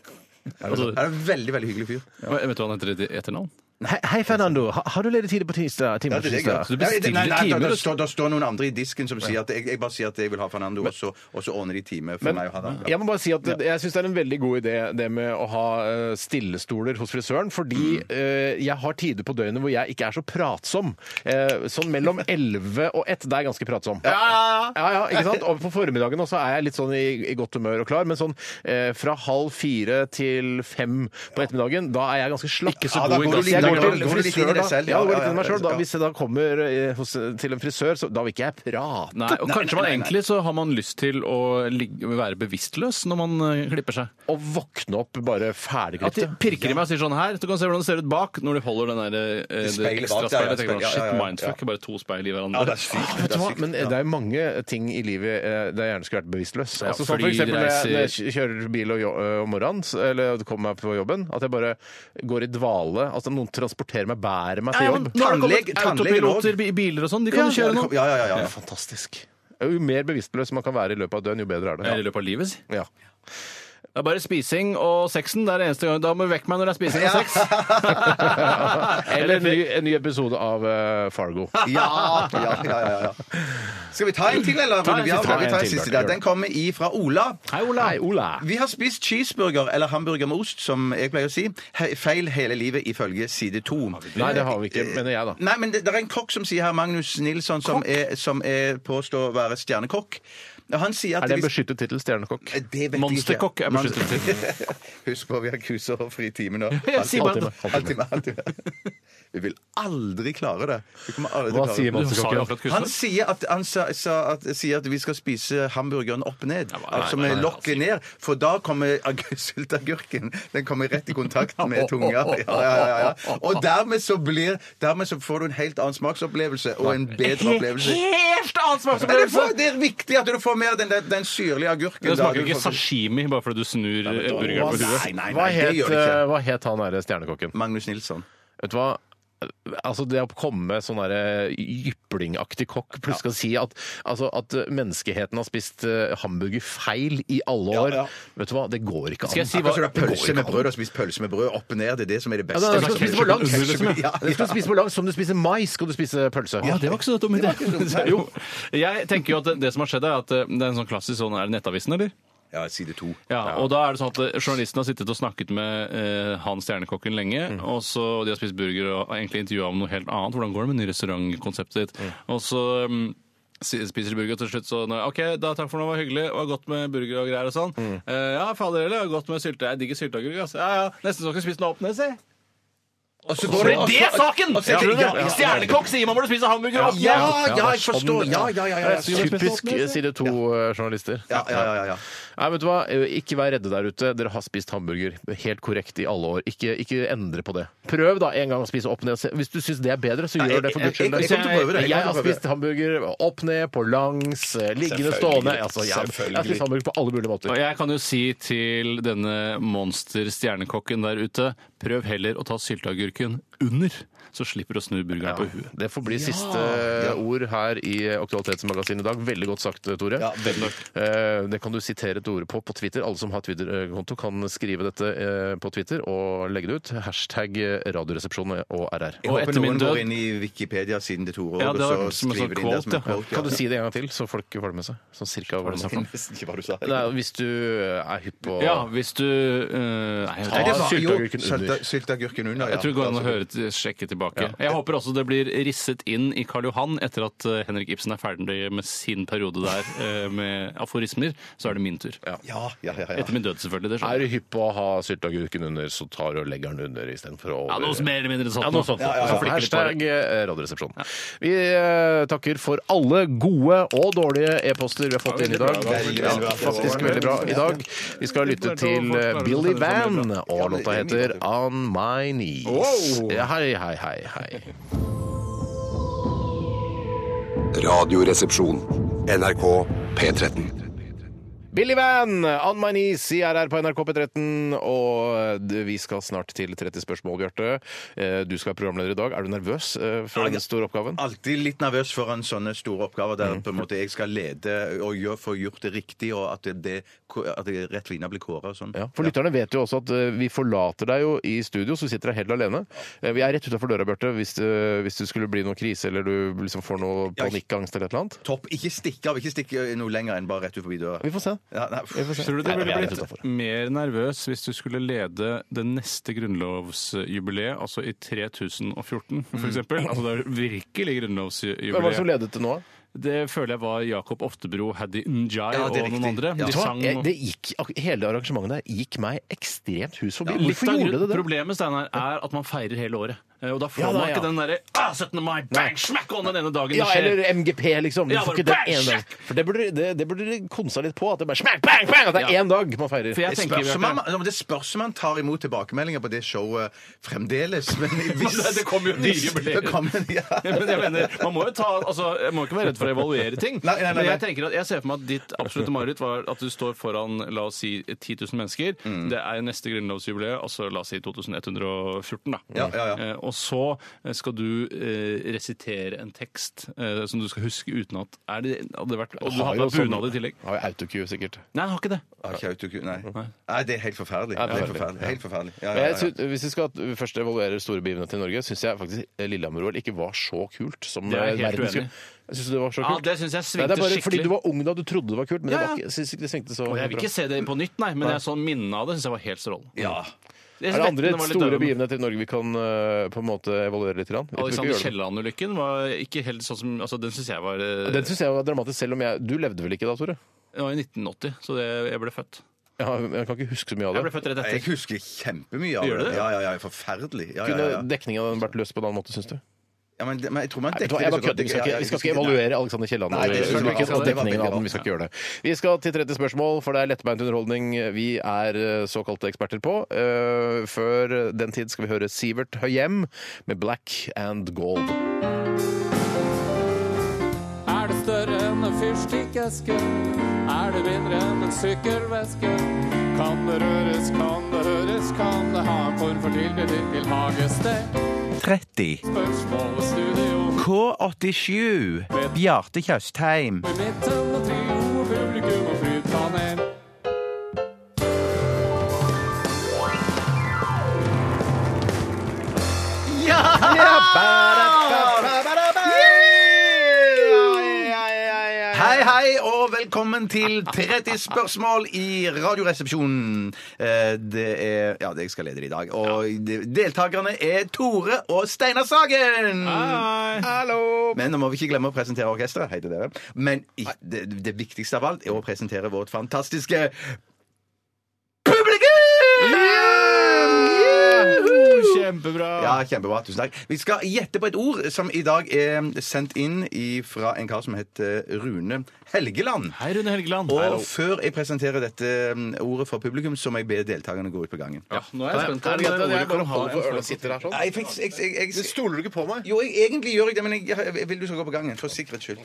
Altså, Han er en veldig, veldig hyggelig fyr. Vet du hva han heter i etternavn? Hei, hei, Fernando. Ha- Har du ledig tid på tirsdag? Timer på tirsdag? Så du bestiller Nei, nei, timer, da- du- da står- Da står noen andre i disken som sier at jeg, jeg bare sier at jeg vil ha Fernando, og så, og så ordner de time for meg og han andre. Jeg må bare si at jeg syns det er en veldig god idé det med å ha eh, stillestoler hos frisøren, fordi eh, jeg har tider på døgnet hvor jeg ikke er så pratsom. Eh, Sånn mellom 11 og 1, det er jeg ganske pratsom. Ja, ja, ja, ikke sant? Og på formiddagen også er jeg litt sånn i, i godt humør og klar, men sånn eh, fra halv fire til fem på ettermiddagen, da er jeg ganske slapp. Ikke så Ja, da god i går du gassen. litt- Jeg går til da går du litt inn i frisør, deg da. selv, Ja, ja, det går litt ja, inn i meg ja, selv, da. ja. Hvis jeg da kommer eh, hos, til en frisør, så da vil ikke jeg prate. Nei, og Kanskje nei, man nei, nei. egentlig så har man lyst til å ligge, være bevisstløs når man eh, klipper seg. Og våkne opp bare At de ferdigklippet. pirker i meg og sier sånn her, du kan se hvordan det ser ut bak når de holder den der, eh, det Speilet ekstra bak, ja, ja, speilet. Tenker man, ja, ja, Shit, ja, ja. mindfuck, bare to speil i Ja, det hverandre. er sykt. Vet Det du er hva? sykt. Men eh, det er mange ting i livet eh, der jeg gjerne skulle vært bevisstløs. Ja, altså, sånn for fly, eksempel når jeg, når reiser. jeg kjører bil og jo- ø, om morgenen, s- eller kommer meg på jobben, at jeg bare går i dvale. Altså noen transporterer meg, bærer meg til jobb. nå har det kommet Tannlege- tannlege autopiloter i biler og sånn, de Ja, kan jo kjøre nå. ja, ja, ja, ja. Det er fantastisk. Jo mer bevisstløs man kan være i løpet av et døgn, jo bedre er det. Eller I løpet av livet, si. Ja. Det er bare spising og sexen. Det er det eneste gang. Da må du vekke meg når det er spising og sex. Eller en ny, en ny episode av eh, Fargo. Ja, ja, ja, ja, ja. Skal vi ta en til, eller? Ta en Vi har- siste, ta vi en tar en til, siste Bjarte. der. Den kommer ifra Ola. Hei, Ola. Hei, Ola. Vi har spist cheeseburger, eller hamburger med ost, som jeg pleier å si, he- feil hele livet ifølge side 2. Nei, det har vi ikke, mener jeg, da. Nei, men det, det er en kokk som sier her, Magnus Nilsson, som, er, som er påstår å være stjernekokk. Og Han sier at Er det en hvis- beskyttet tittel, stjernekokk? Eh, Det vet jeg ikke. Monsterkokk er beskyttet til. Husk på, vi har kuser og fri time nå. Ja, si bare- Halvtime, halvtime, halvtime. Vi vil aldri klare det. Vi kommer aldri til Hva å klare sier det. Du sa jo Monsterkokken? akkurat Han kusen. sier at, han sa, sa at, sier at vi skal spise hamburgeren opp ned. nei, altså nei, med nei, lokket ned. For da kommer agurk- sylteagurken Den kommer rett i kontakt med tunga. Ja, ja, ja, ja. Og dermed så, blir, dermed så får du en helt annen smaksopplevelse og en bedre opplevelse. Helt annen Men det, smaksopplevelse! får, det er viktig at du får mer den, den, den syrlige agurken. Det da. smaker Du jo ikke får- sashimi bare fordi du snur eh, Å, burgeren på huet. Nei, nei, Hva nei, det het, gjør det eh, ikke. hva het han derre stjernekokken? Magnus Nilsson. Vet du hva? altså det å komme med sånn derre jyplingaktig kokk plutselig skal si at, altså at menneskeheten har spist eh, hamburger feil i alle år ja. Vet du hva, det går ikke an. Skal jeg si Akkurat hva- det går som Altså, du har pølse ikke med an. brød og spist pølse med brød opp og ned. Det er det som er det Ja, beste. det er, du skal Ketchup- spise på langs! ketchup- ja, Du skal spise på langs som du spiser mais, skal du spise pølse. Ja, det var ikke så dum idé. Jo, jeg tenker jo at det, det som har skjedd, er at eh, det er en sånn klassisk sånn Er det Nettavisen, eller? Ja, side to. Ja, og da er det sånn at eh, Journalisten har sittet og snakket med eh, han stjernekokken lenge. og så og De har spist burger og har egentlig intervjua om noe helt annet. Hvordan går det med nye restaurantkonseptet ditt? Og så mm, si- spiser de burger, og til slutt så når, OK, da takk for nå, det var hyggelig. Det var godt med burger og greier og sånn. Eh, ja, fader heller, det var godt med sylte. Jeg digger sylteagurk, ass. Ja, ja, nesten så jeg skal spise den opp ned, si. Og så For går det er det saken! og så- Skjønner du ja, ja, det? ja. Stjernekokk sier man burde spise hamburger opp ned. Ja, ja, jeg forstår. Ja, ja, ja. ja, ja. Typisk side eh, to-journalister. Ja, ja, ja, ja, ja. Nei, vet du hva? Eh, Ikke vær redde der ute. Dere har spist hamburger helt korrekt i alle år. Ikke, ikke endre på det. Prøv da en gang å spise opp ned. Se- Hvis du syns det er bedre, så gjør det for guds skyld. jeg- jeg kommer til å prøve det. Jeg Jeg kommer har til å prøve spist hamburger opp ned, på langs, eh, liggende, Selvfølgelig. stående. Altså, jeg, jeg har Selvfølgelig. spist hamburger på alle mulige måter. Og jeg kan jo si til denne monster-stjernekokken der ute, prøv heller å ta sylteagurken under, så slipper du å snu burgeren på huet. Det får bli siste eh, ord her i Aktualitetsmagasinet i dag. Veldig godt sagt, Tore. Ja, veldig. Eh, Det kan du sitere Tore på på Twitter. Alle som har Twitter-konto, kan skrive dette eh, på Twitter og legge det ut. Hashtag eh, Radioresepsjonen og RR. Jeg Og håper etter min noen går død- inn i Wikipedia-siden til Tore Ja, og det var så som en sånn skriver de inn det som en quote, ja. quote. ja. Kan du si det en gang til, så folk får det med seg? Sånn cirka hva det er. Jeg visste ikke hva du sa. Nei, hvis du er hypp på Ja, hvis du eh, Nei, Nei, det var- sylte- sylteagurken Jo, under. sylte- Sylteagurken under, ja. Altså, jeg tror det går altså. an å høre til- sjekke tilbake. Jeg håper også det blir risset inn i Karl Johan etter at eh, Henrik Ibsen er ferdig med sin periode der eh, med aforismer. Så er det min tur. Ja, ja, ja. ja. Etter min død, selvfølgelig. Det skjønner Er jeg. du hypp på å ha sylteagurken under, så tar du og legger den under istedenfor å Ja, noe som mer eller mindre sånt. Ja, noe sånt. nå. Så Så flikker litt på det. Hashtag eh, Radioresepsjonen. Vi eh, takker for alle gode og dårlige e-poster vi har fått inn i dag. Ja, faktisk veldig bra i dag. Vi skal lytte til eh, Billy Van, og låta heter On My Knees. Ja, Hei, hei, hei, hei. Radioresepsjon. NRK P13. Billy Van, On My Knees i RR på NRK P13. Og d- vi skal snart til 30 spørsmål, Bjarte. Eh, Du skal være programleder i dag. Er du nervøs eh, for den store oppgaven? Alltid litt nervøs foran sånne store oppgaver der på en måte jeg skal lede og gjøre, få gjort det riktig, og at det, at det rett vina blir kåra og sånn. Ja, for lytterne vet jo også at eh, vi forlater deg jo i studio, så vi sitter deg helt alene. Eh, Vi er rett utafor døra, Bjarte, hvis, eh, hvis det skulle bli noen krise eller du liksom får noe Ja, panikkangst eller et eller annet. Topp. Ikke stikke av. Ikke stikke noe lenger enn bare rett ut forbi døra. Vi får se. Ja, nei, f- Tror du Nei, det ville det er litt blitt mer nervøs hvis du skulle lede det neste grunnlovsjubileet, altså i 3014 Mm. f.eks.? Altså det er virkelig Hvem var det som grunnlovsjubileet. ledet til nå? Det føler jeg var Jakob Oftebro, Haddy Njai Ja, og det er noen riktig. andre. Ja. De Vet du hva? sang Jeg- og Det gikk, ak- hele arrangementet der gikk meg ekstremt hus forbi. Litt Hvorfor av gjorde det det? problemet Steinar, er at man feirer hele året. Eh, Og da får Ja, da, man ja. ikke den derre ah, 17. mai, bang, smack on den ene dagen Ja, det skjer. eller MGP, liksom. Du Ja, får ikke bare den bang, ene dagen. sjekk! For det burde, det, det burde dere konsa litt på. At det bare smack, bang, bang! At det er Ja. én dag man feirer. For jeg Det tenker spørs, om Bjarte, han, om det spørs om han tar imot tilbakemeldinger på det showet fremdeles. Men Altså, hvis, Men det kommer jo nye hvis- jubileer. det kommer- ja. Men jeg mener, man må jo ta, altså, jeg må ikke være redd for å evaluere ting. Nei, nei, nei, Men jeg nei. tenker at jeg ser for meg at ditt absolutte mareritt var at du står foran la oss si 10 000 mennesker. Det er neste grunnlovsjubileum, altså la oss si 2114. da. Ja, ja, ja. Eh, og så skal du eh, resitere en tekst eh, som du skal huske utenat. Er det, hadde det vært, og du har på deg bunad i tillegg. Har jo autocue, sikkert. Nei, jeg har ikke det. Ah, ikke autoku- Nei. Nei, det er helt forferdelig. Ja, det er Helt forferdelig. forferdelig. Helt forferdelig. Ja, ja, Men ja, jeg ja. synes, hvis vi skal først evaluere store begivenheter i Norge, syns jeg faktisk Lillehammer-OL ikke var så kult som Det er jeg helt verden skulle uenig Syns du det var så Ja, kult? det synes jeg Nei, det svingte er bare fordi skikkelig. du var ung da du trodde det var kult, men Ja, det ja. var ikke, jeg synes ikke det svingte så Og jeg vil bra. ikke se det på nytt, nei, men jeg så minnet av det. Syns jeg var helt strålende. Ja. Jeg Er det synes andre vettene var litt store døve. begivenheter i Norge vi kan eh, på en måte evaluere litt? grann? Vi kan ikke Alexander gjøre det. Kielland-ulykken var ikke helt sånn som altså, Den syns jeg var eh, Den syns jeg var dramatisk, selv om jeg Du levde vel ikke da, Tore? Det var i 1980, så det, jeg ble født. Jeg, har, jeg kan ikke huske så mye av Jeg ble det. født rett Jeg etter. husker kjempemye av Gjør du det. det? Ja, ja, ja, Forferdelig. Ja, ja, Kunne ja. dekningen av den vært løst på en annen måte, syns du? Ja, men, men jeg tror man Nei, vet du dekker hva, jeg det bare så godt. kødder. Vi skal Ja, ja, ikke, jeg vi skal ikke husker- evaluere Alexander Kielland Nei, det og skal vi ikke. ulykken og Det dekningen var veldig av den. Vi skal ikke gjøre det. Vi skal til 30 spørsmål, for det er lettbeint underholdning vi er eh, såkalte eksperter på. Eh, Før den tid skal vi høre Sivert Høyem med 'Black and Gold'. Er det større enn en fyrstikkeske? Er det mindre enn en sykkelveske? Kan det røres, kan det høres, kan det ha en form for tilknytning til hagested? 30. Spørsmål og studio K87. Bjarte Tjøstheim. i midten og trio og publikum og flypanel. Hei, hei, og velkommen til 30 spørsmål i Radioresepsjonen. Eh, Det er Ja, det jeg skal lede det i dag. Og de- deltakerne er Tore og Steinar Sagen. Ah. Hallo! Men nå må vi ikke glemme å presentere orkesteret. Hei til dere. Men i- det, det viktigste av alt er å presentere vårt fantastiske publikum! Juhu! Kjempebra. Ja, kjempebra. Tusen takk. Vi skal gjette på et ord som i dag er sendt inn i- fra en kar som heter Rune Helgeland. Hei, Rune Helgeland. Og før jeg presenterer dette mm, ordet for publikum, så må jeg be deltakerne gå ut på gangen. Ja, nå er Er jeg det spent. Er det greit dette at jeg ordet bare kan ha holder en på ølet og slags- sitter her sånn? Nei, faktisk, jeg, jeg, jeg, Det Stoler du ikke på meg? jo, jeg, egentlig gjør jeg det, men jeg, jeg vil du skal gå på gangen. For sikkerhets skyld.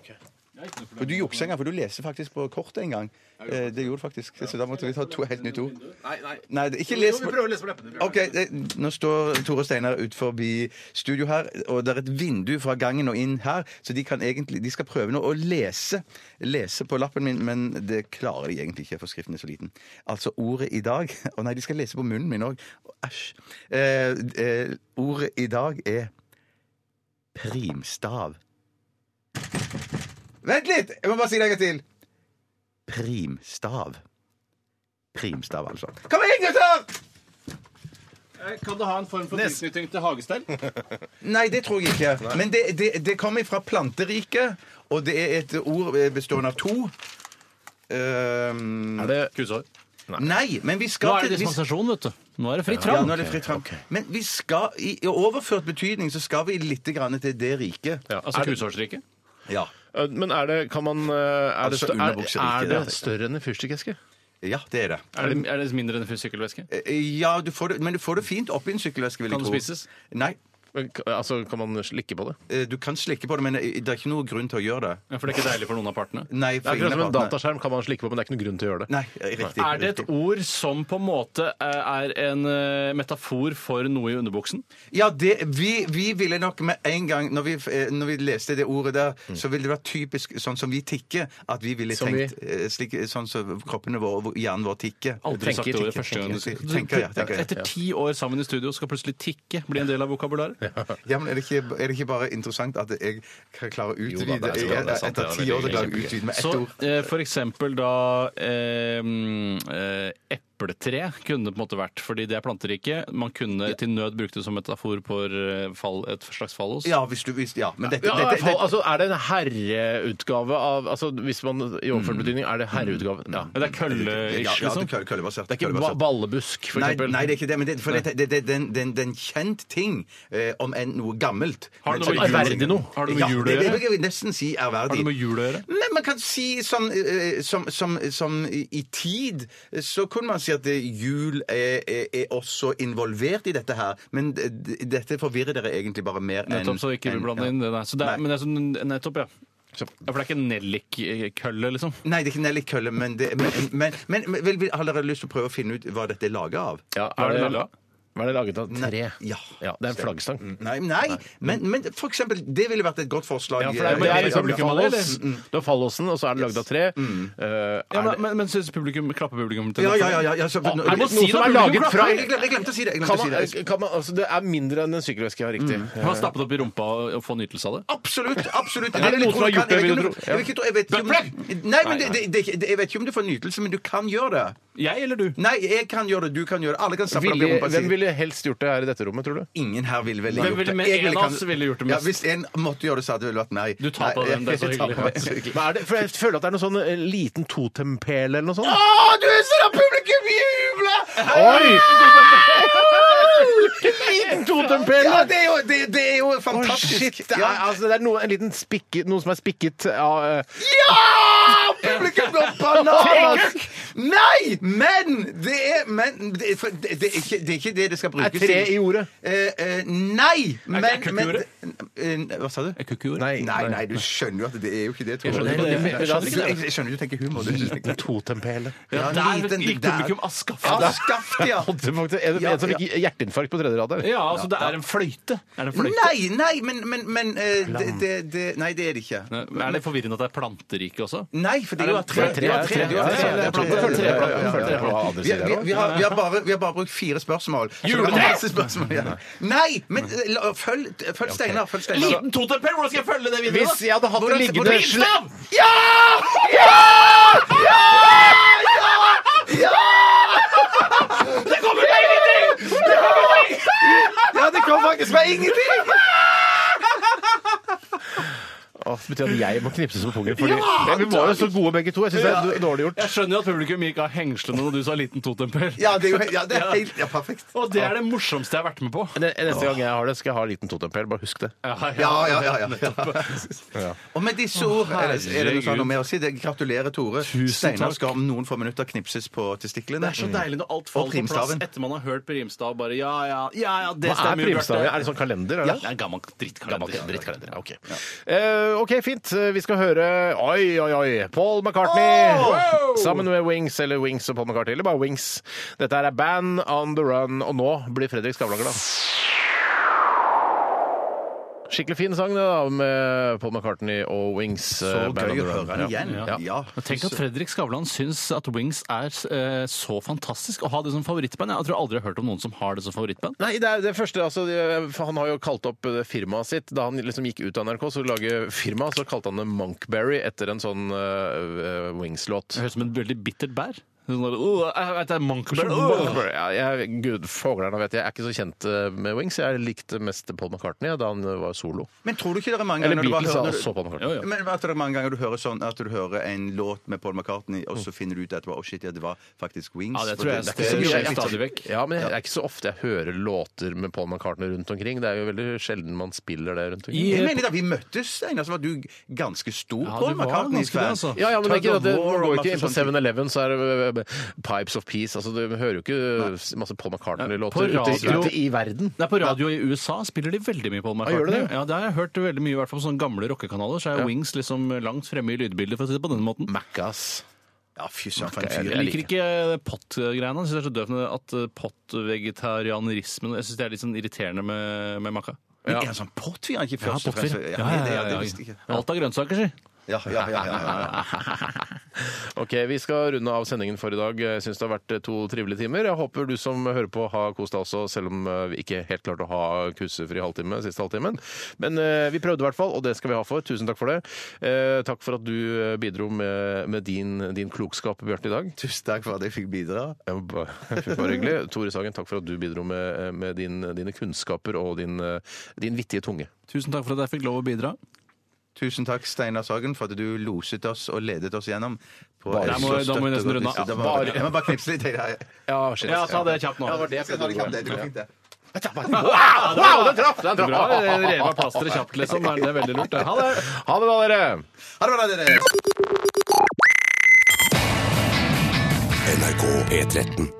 For du jukser en gang, for du leser faktisk på kortet en gang. Eh, Det gjorde du faktisk. Så da måtte vi ta to helt nytt ord. Nei, nei. Nei, det- ikke les Jo, vi prøver å lese på leppene. vi prøver. Ok, det, Nå står Tore og Steinar ut forbi studio her, og det er et vindu fra gangen og inn her, så de, kan egentlig, de skal prøve nå å lese, lese på lappen min, men det klarer de egentlig ikke, for skriften er så liten. Altså, ordet i dag Å nei, de skal lese på munnen min òg. Æsj. Eh, eh, ordet i dag er primstav. Vent litt! Jeg må bare si det en gang til. Primstav. Primstav, altså. Kom igjen, gutter! Kan du ha en form for tilknytning til hagestell? Nei, det tror jeg ikke. Men det, det, det kommer fra planteriket, og det er et ord eh, bestående av to. Ehm, Er det kusår? Nei, men vi Nå skal er det til vi- dispensasjon, vet du. Nå er det fritt Ja, fram. nå er det fritt fram. Men vi skal, i, i overført betydning så skal vi litt grann til det riket. Ja, Altså er det- kusårsriket? Ja. Eh, Men er det Kan man eh, Er det, Altså, stø- er, underbukser, ikke er det det. større enn en fyrstikkeske? ja, det er det. Er, det- er det mindre enn en sykkelveske? Eh, Ja, du får det, Men du får det fint oppi en sykkelveske. vil jeg Kan det tro. spises? Nei, Men k- Altså, kan man slikke på det? eh, du kan slikke på det, men det er ikke noe grunn til å gjøre det. Ja, for det er ikke deilig for noen av partene. Nei, Det for er akkurat ingen som av en partene- dataskjerm kan man slikke på, men det er ikke noen grunn til å gjøre det. Nei, eh, riktig. Er det riktig. et ord som på en måte eh, er en eh, metafor for noe i underbuksen? Ja, det, vi, vi ville nok med en gang Når vi, eh, når vi leste det ordet der, så ville det vært typisk sånn som vi tikker. At vi ville Mm. Som tenkt eh, slik, sånn som kroppene våre hvor- hjernen vår tikker. Aldri sagt Tenker, ordet tenker, første gang du tenker, tenker, ja, tenker, ja. Etter ti år sammen i studio skal plutselig tikke bli en del av vokabularet? Ja, men er det, ikke, er det ikke bare interessant at jeg kan klare å Jo da, utvide det er sant, det er sant, Etter det er ti år så veldig klarer jeg å gøy. utvide med ett Så ord? eh, for eksempel da eh, mm, eh, epletre kunne det på en måte vært, fordi det er planteriket. Man kunne til nød brukt det som metafor på eh, fall, et slags fallos. Ja, hvis du hvis, Ja, men dette, Ja, i dette, hvert fall, dette altså, er det en herreutgave av altså, Hvis man i overført betydning, er det herreutgave? Mm. Ja. Men Det er ja, kølle-ish, ja, du liksom. køller- køllebasert. Det er ikke ba- køllebasert. ballebusk, for Nei, eksempel? nei, det er ikke det. Men det, for det, det, det, det, er en- det, er en kjent ting, eh, om enn noe gammelt. Har det Men- noe med Ærverdig jul- noe? Har det noe ja, med jul å det, det gjøre? vil jeg nesten si ærverdig. Har det med jul å gjøre? Men man kan si sånn eh, som, som, som i i tid Så kunne man si at eh, jul er, er, er også involvert i dette her. Men d- d- dette forvirrer dere egentlig bare mer enn Nettopp, så ikke vi enn- blander ja. inn det der. Så det Nei. er, men det er sånn, nettopp, ja. ja. For det er ikke nellik-kølle, liksom? Nei, det er ikke Nelly Kølle, men, det, men, men, men, men vel, vel, har dere lyst til å prøve å finne ut hva dette er laga av? Ja, Hva er eh, det laget av? Hva er det laget av? Tre? Ja. det er en flaggstang. Nei, nei, Men, men for eksempel, det ville vært et godt forslag. Ja, for det er, det Eh, er liksom Mm. det er fallos, fallos. det er fallosen, og så er det laget av tre. Eh, er Ja, det, men men, men synes publikum, klapper publikum til Ja, det? ja, ja, ja, ja, så, Å, jeg må Noe si som det, er publikum laget fra klapper. Jeg glemte jeg glemte å si det. Jeg kan glemte å si det. man, kan man, altså, det Mm. er mindre enn en sykkelveske, ja, riktig. Kan man stappe det opp i rumpa og- og få nytelse av det? Absolutt. absolutt. Er det noen som har gjort det, Jeg vil du tro? vet ikke- jeg vet ikke- jeg vet ikke om- Nei, men det, det, det, det, jeg vet ikke om du får nytelse, men du kan gjøre det. Jeg eller du? Nei, jeg kan gjøre det, du kan gjøre det. Alle kan stappe opp i Ville, rumpa hvem si. ville helst gjort det her i dette rommet, tror du? Ingen her ville vel Hvem gjort ville- det. men Jeg en av kan- oss ville gjort det Ja, mest. hvis en måtte gjøre det, så hadde det vel vært meg. Du tar på Nei, den, det er så jeg tar på hyggelig. den. Hva er det? For jeg føler at det er noe sånn eh, liten totempel eller noe sånt. Å, du er sånn at publikum jubler! Liten totempel! Ja, det er jo, det, det er jo Å, fantastisk. shit! Det er, Ja, altså, det er noe, en liten spikket, noe som er spikket av eh, ja! Ah, Publikum går bananas! Nei, men det er men, det, er, for- det, det, er ikke, det er ikke det det skal brukes tre i ordet? Eh, eh, nei, men, er kukkjordet? men eh, Hva sa du? Er kukkjord? Nei. Nei, nei, du skjønner jo at det er jo ikke det. Jeg Tror skjønner jeg. ikke det. Nei, Jeg skjønner ikke det. Jeg jeg skjønner du tenker humor. Du synes ikke. Totempele. Ja, Ja, der liten- gikk der. publikum askaft. Ja, da skaff det, ja. Hadde faktisk en, en som fikk hjerteinfarkt på tredje rad der. Ja, altså det er en fløyte. Er det en fløyte? Nei, nei, men, men, men eh, det, det, det, Nei, det er det ikke. Nei, men Er det forvirrende at det er planterike også? Mm, Nei, for det er jo tre. det er tre, Det var ja, det var ja, ja, ja, Det ja, ja, ja, ja, ja, ja, var ja, ja, ja. Vi, vi, vi, har, vi, har bare, vi har bare brukt fire spørsmål. Så det var Juletre! masse spørsmål igjen. Nei, men eh, la- følg, følg Steinar. Følg Steinar. Liten totempel! Hvordan skal jeg følge det videre? Hvis jeg hadde hatt en Hvordan- liggende hvordan- slem... Ja, det kom faktisk meg ingenting! Åh, det betyr at jeg må knipses på pungen. Fordi... Men vi var jo så gode begge to. Jeg syns det er d- dårlig gjort. Jeg skjønner jo at publikum gikk av hengslene når du sa liten totempel. Ja, det er jo he- ja, det er helt ja, perfekt. Og det er det morsomste jeg har vært med på. Ne- Neste gang jeg har det, skal jeg ha en liten totempel. Bare husk det. Ja, ja, ja. ja, ja. Og med disse ord er det, er det noe sånn herregud. noe mer å si. Det- Gratulerer, Tore. Tusen Steinar takk. skal om noen få minutter knipses på testiklene. Det er så deilig når alt faller på plass primstaven. etter man har hørt primstav. Bare ja, ja, ja, ja, det Hva er stemmer jo, primstav? Bjarte. Er det sånn kalender? Ja, Er det? det er en gammel drittkalender. Gammel drittkalender. ja, Ok, Eh, ok, fint. Eh, Vi skal høre Oi, oi, oi! Paul McCartney sammen med Wings, eller Wings og Paul McCartney, eller bare Wings. Dette her er Band on the Run, og nå blir Fredrik Skavlan glad. Skikkelig fin sang det da, med Paul McCartney og Wings. eh, Så Band on gøy the å Run. høre den Ja. igjen. Ja. Ja. Men Tenk at Fredrik Skavlan syns at Wings er eh, så fantastisk å ha det som favorittband. Jeg tror aldri jeg har hørt om noen som har det som favorittband. Nei, det er det første, altså, det- for Han har jo kalt opp eh, firmaet sitt. Da han liksom gikk ut av NRK, så lage firma, så kalte han det Monkberry etter en sånn eh, eh, Wings-låt. Det høres ut som et veldig bittert bær. Sånn der, «Åh, jeg vet det er Monkberg. åh!» Monkberry. Ja, jeg, Gud, foglerne vet jeg. Jeg er ikke så kjent eh, med Wings. Jeg likte mest Paul McCartney da han eh, var solo. Men tror du ikke det er mange Eller ganger du bare Beatles da, hører- og så Paul McCartney. Jo, jo. Men at det er mange ganger du hører sånn at du hører en låt med Paul McCartney, og så finner du ut etterpå Å shit, ja, det var faktisk Wings. Mm. Ja, det For tror jeg det- det det er ikke så mye- skjer stadig vekk. Eh, Ja, men det er ikke så ofte jeg hører låter med Paul McCartney rundt omkring. Det er jo veldig sjelden man spiller det rundt omkring. I- Jeg mener da vi møttes, Steinar, så var du ganske stor Ja, Paul du var McCartney-fan. ganske det, altså. Ja, ja, men det er ikke, at Tug of det War man og går ikke inn på masse sånne ting. 7-Eleven, så er det eh, Pipes of Peace. Altså, Du hører jo ikke masse Paul På McCartney-låter ute, radio- ute i verden. Nei, På radio i USA spiller de veldig mye Paul McCartney. gjør de det? Ja, det har jeg hørt veldig mye, i hvert fall på sånne gamle rockekanaler. Så er Wings liksom langt fremme i lydbildet, for å si det på den måten. Maccas. Ja, fy søren, for en Jeg, fyr. jeg liker ikke eh, pott-greiene. Jeg synes det er så døvt med at eh, pott-vegetarianismen Jeg syns det er litt sånn irriterende med, med makka. Men er han sånn pottfyr? Er han Ikke først og fremst Pottfyr. Ja, ja, det- ja, det ja, visste jeg ikke. ja. Alt av grønnsaker, si. Ja, ja, ja, ja, ja, ja. Ok, Vi skal runde av sendingen for i dag. Jeg syns det har vært eh, to trivelige timer. Jeg håper du som hører på har kost deg også, selv om eh, vi ikke helt klarte å ha kussefri halvtime siste halvtimen. Men eh, vi prøvde i hvert fall, og det skal vi ha for. Tusen takk for det. Eh, takk for at du eh, bidro med, med din, din klokskap, Bjarte, i dag. Tusen takk for at jeg fikk bidra. Det var bare- bare hyggelig. Tore Sagen, takk for at du bidro med, eh, med din, dine kunnskaper og din, eh, din vittige tunge. Tusen takk for at jeg fikk lov å bidra. Tusen takk, Steinar Sagen, for at du loset oss og ledet oss gjennom. på Bare- et Da må- så da må vi støtt nesten og runde av. godt- Da må- Bare- Jeg må bare knipse litt. jeg. Ja, shit. Ja, ta det kjapt nå. Ja, det var det jeg Jeg prøvde tar å gå det kjapt, med. det. Du fikk det. Wow, wow, den traff! Den traff! Bra, Rev av plasteret kjapt, liksom. Det er- Det er veldig lurt. det. Ha det! Ha det bra, dere! Ha det bra, dere! NRK P13.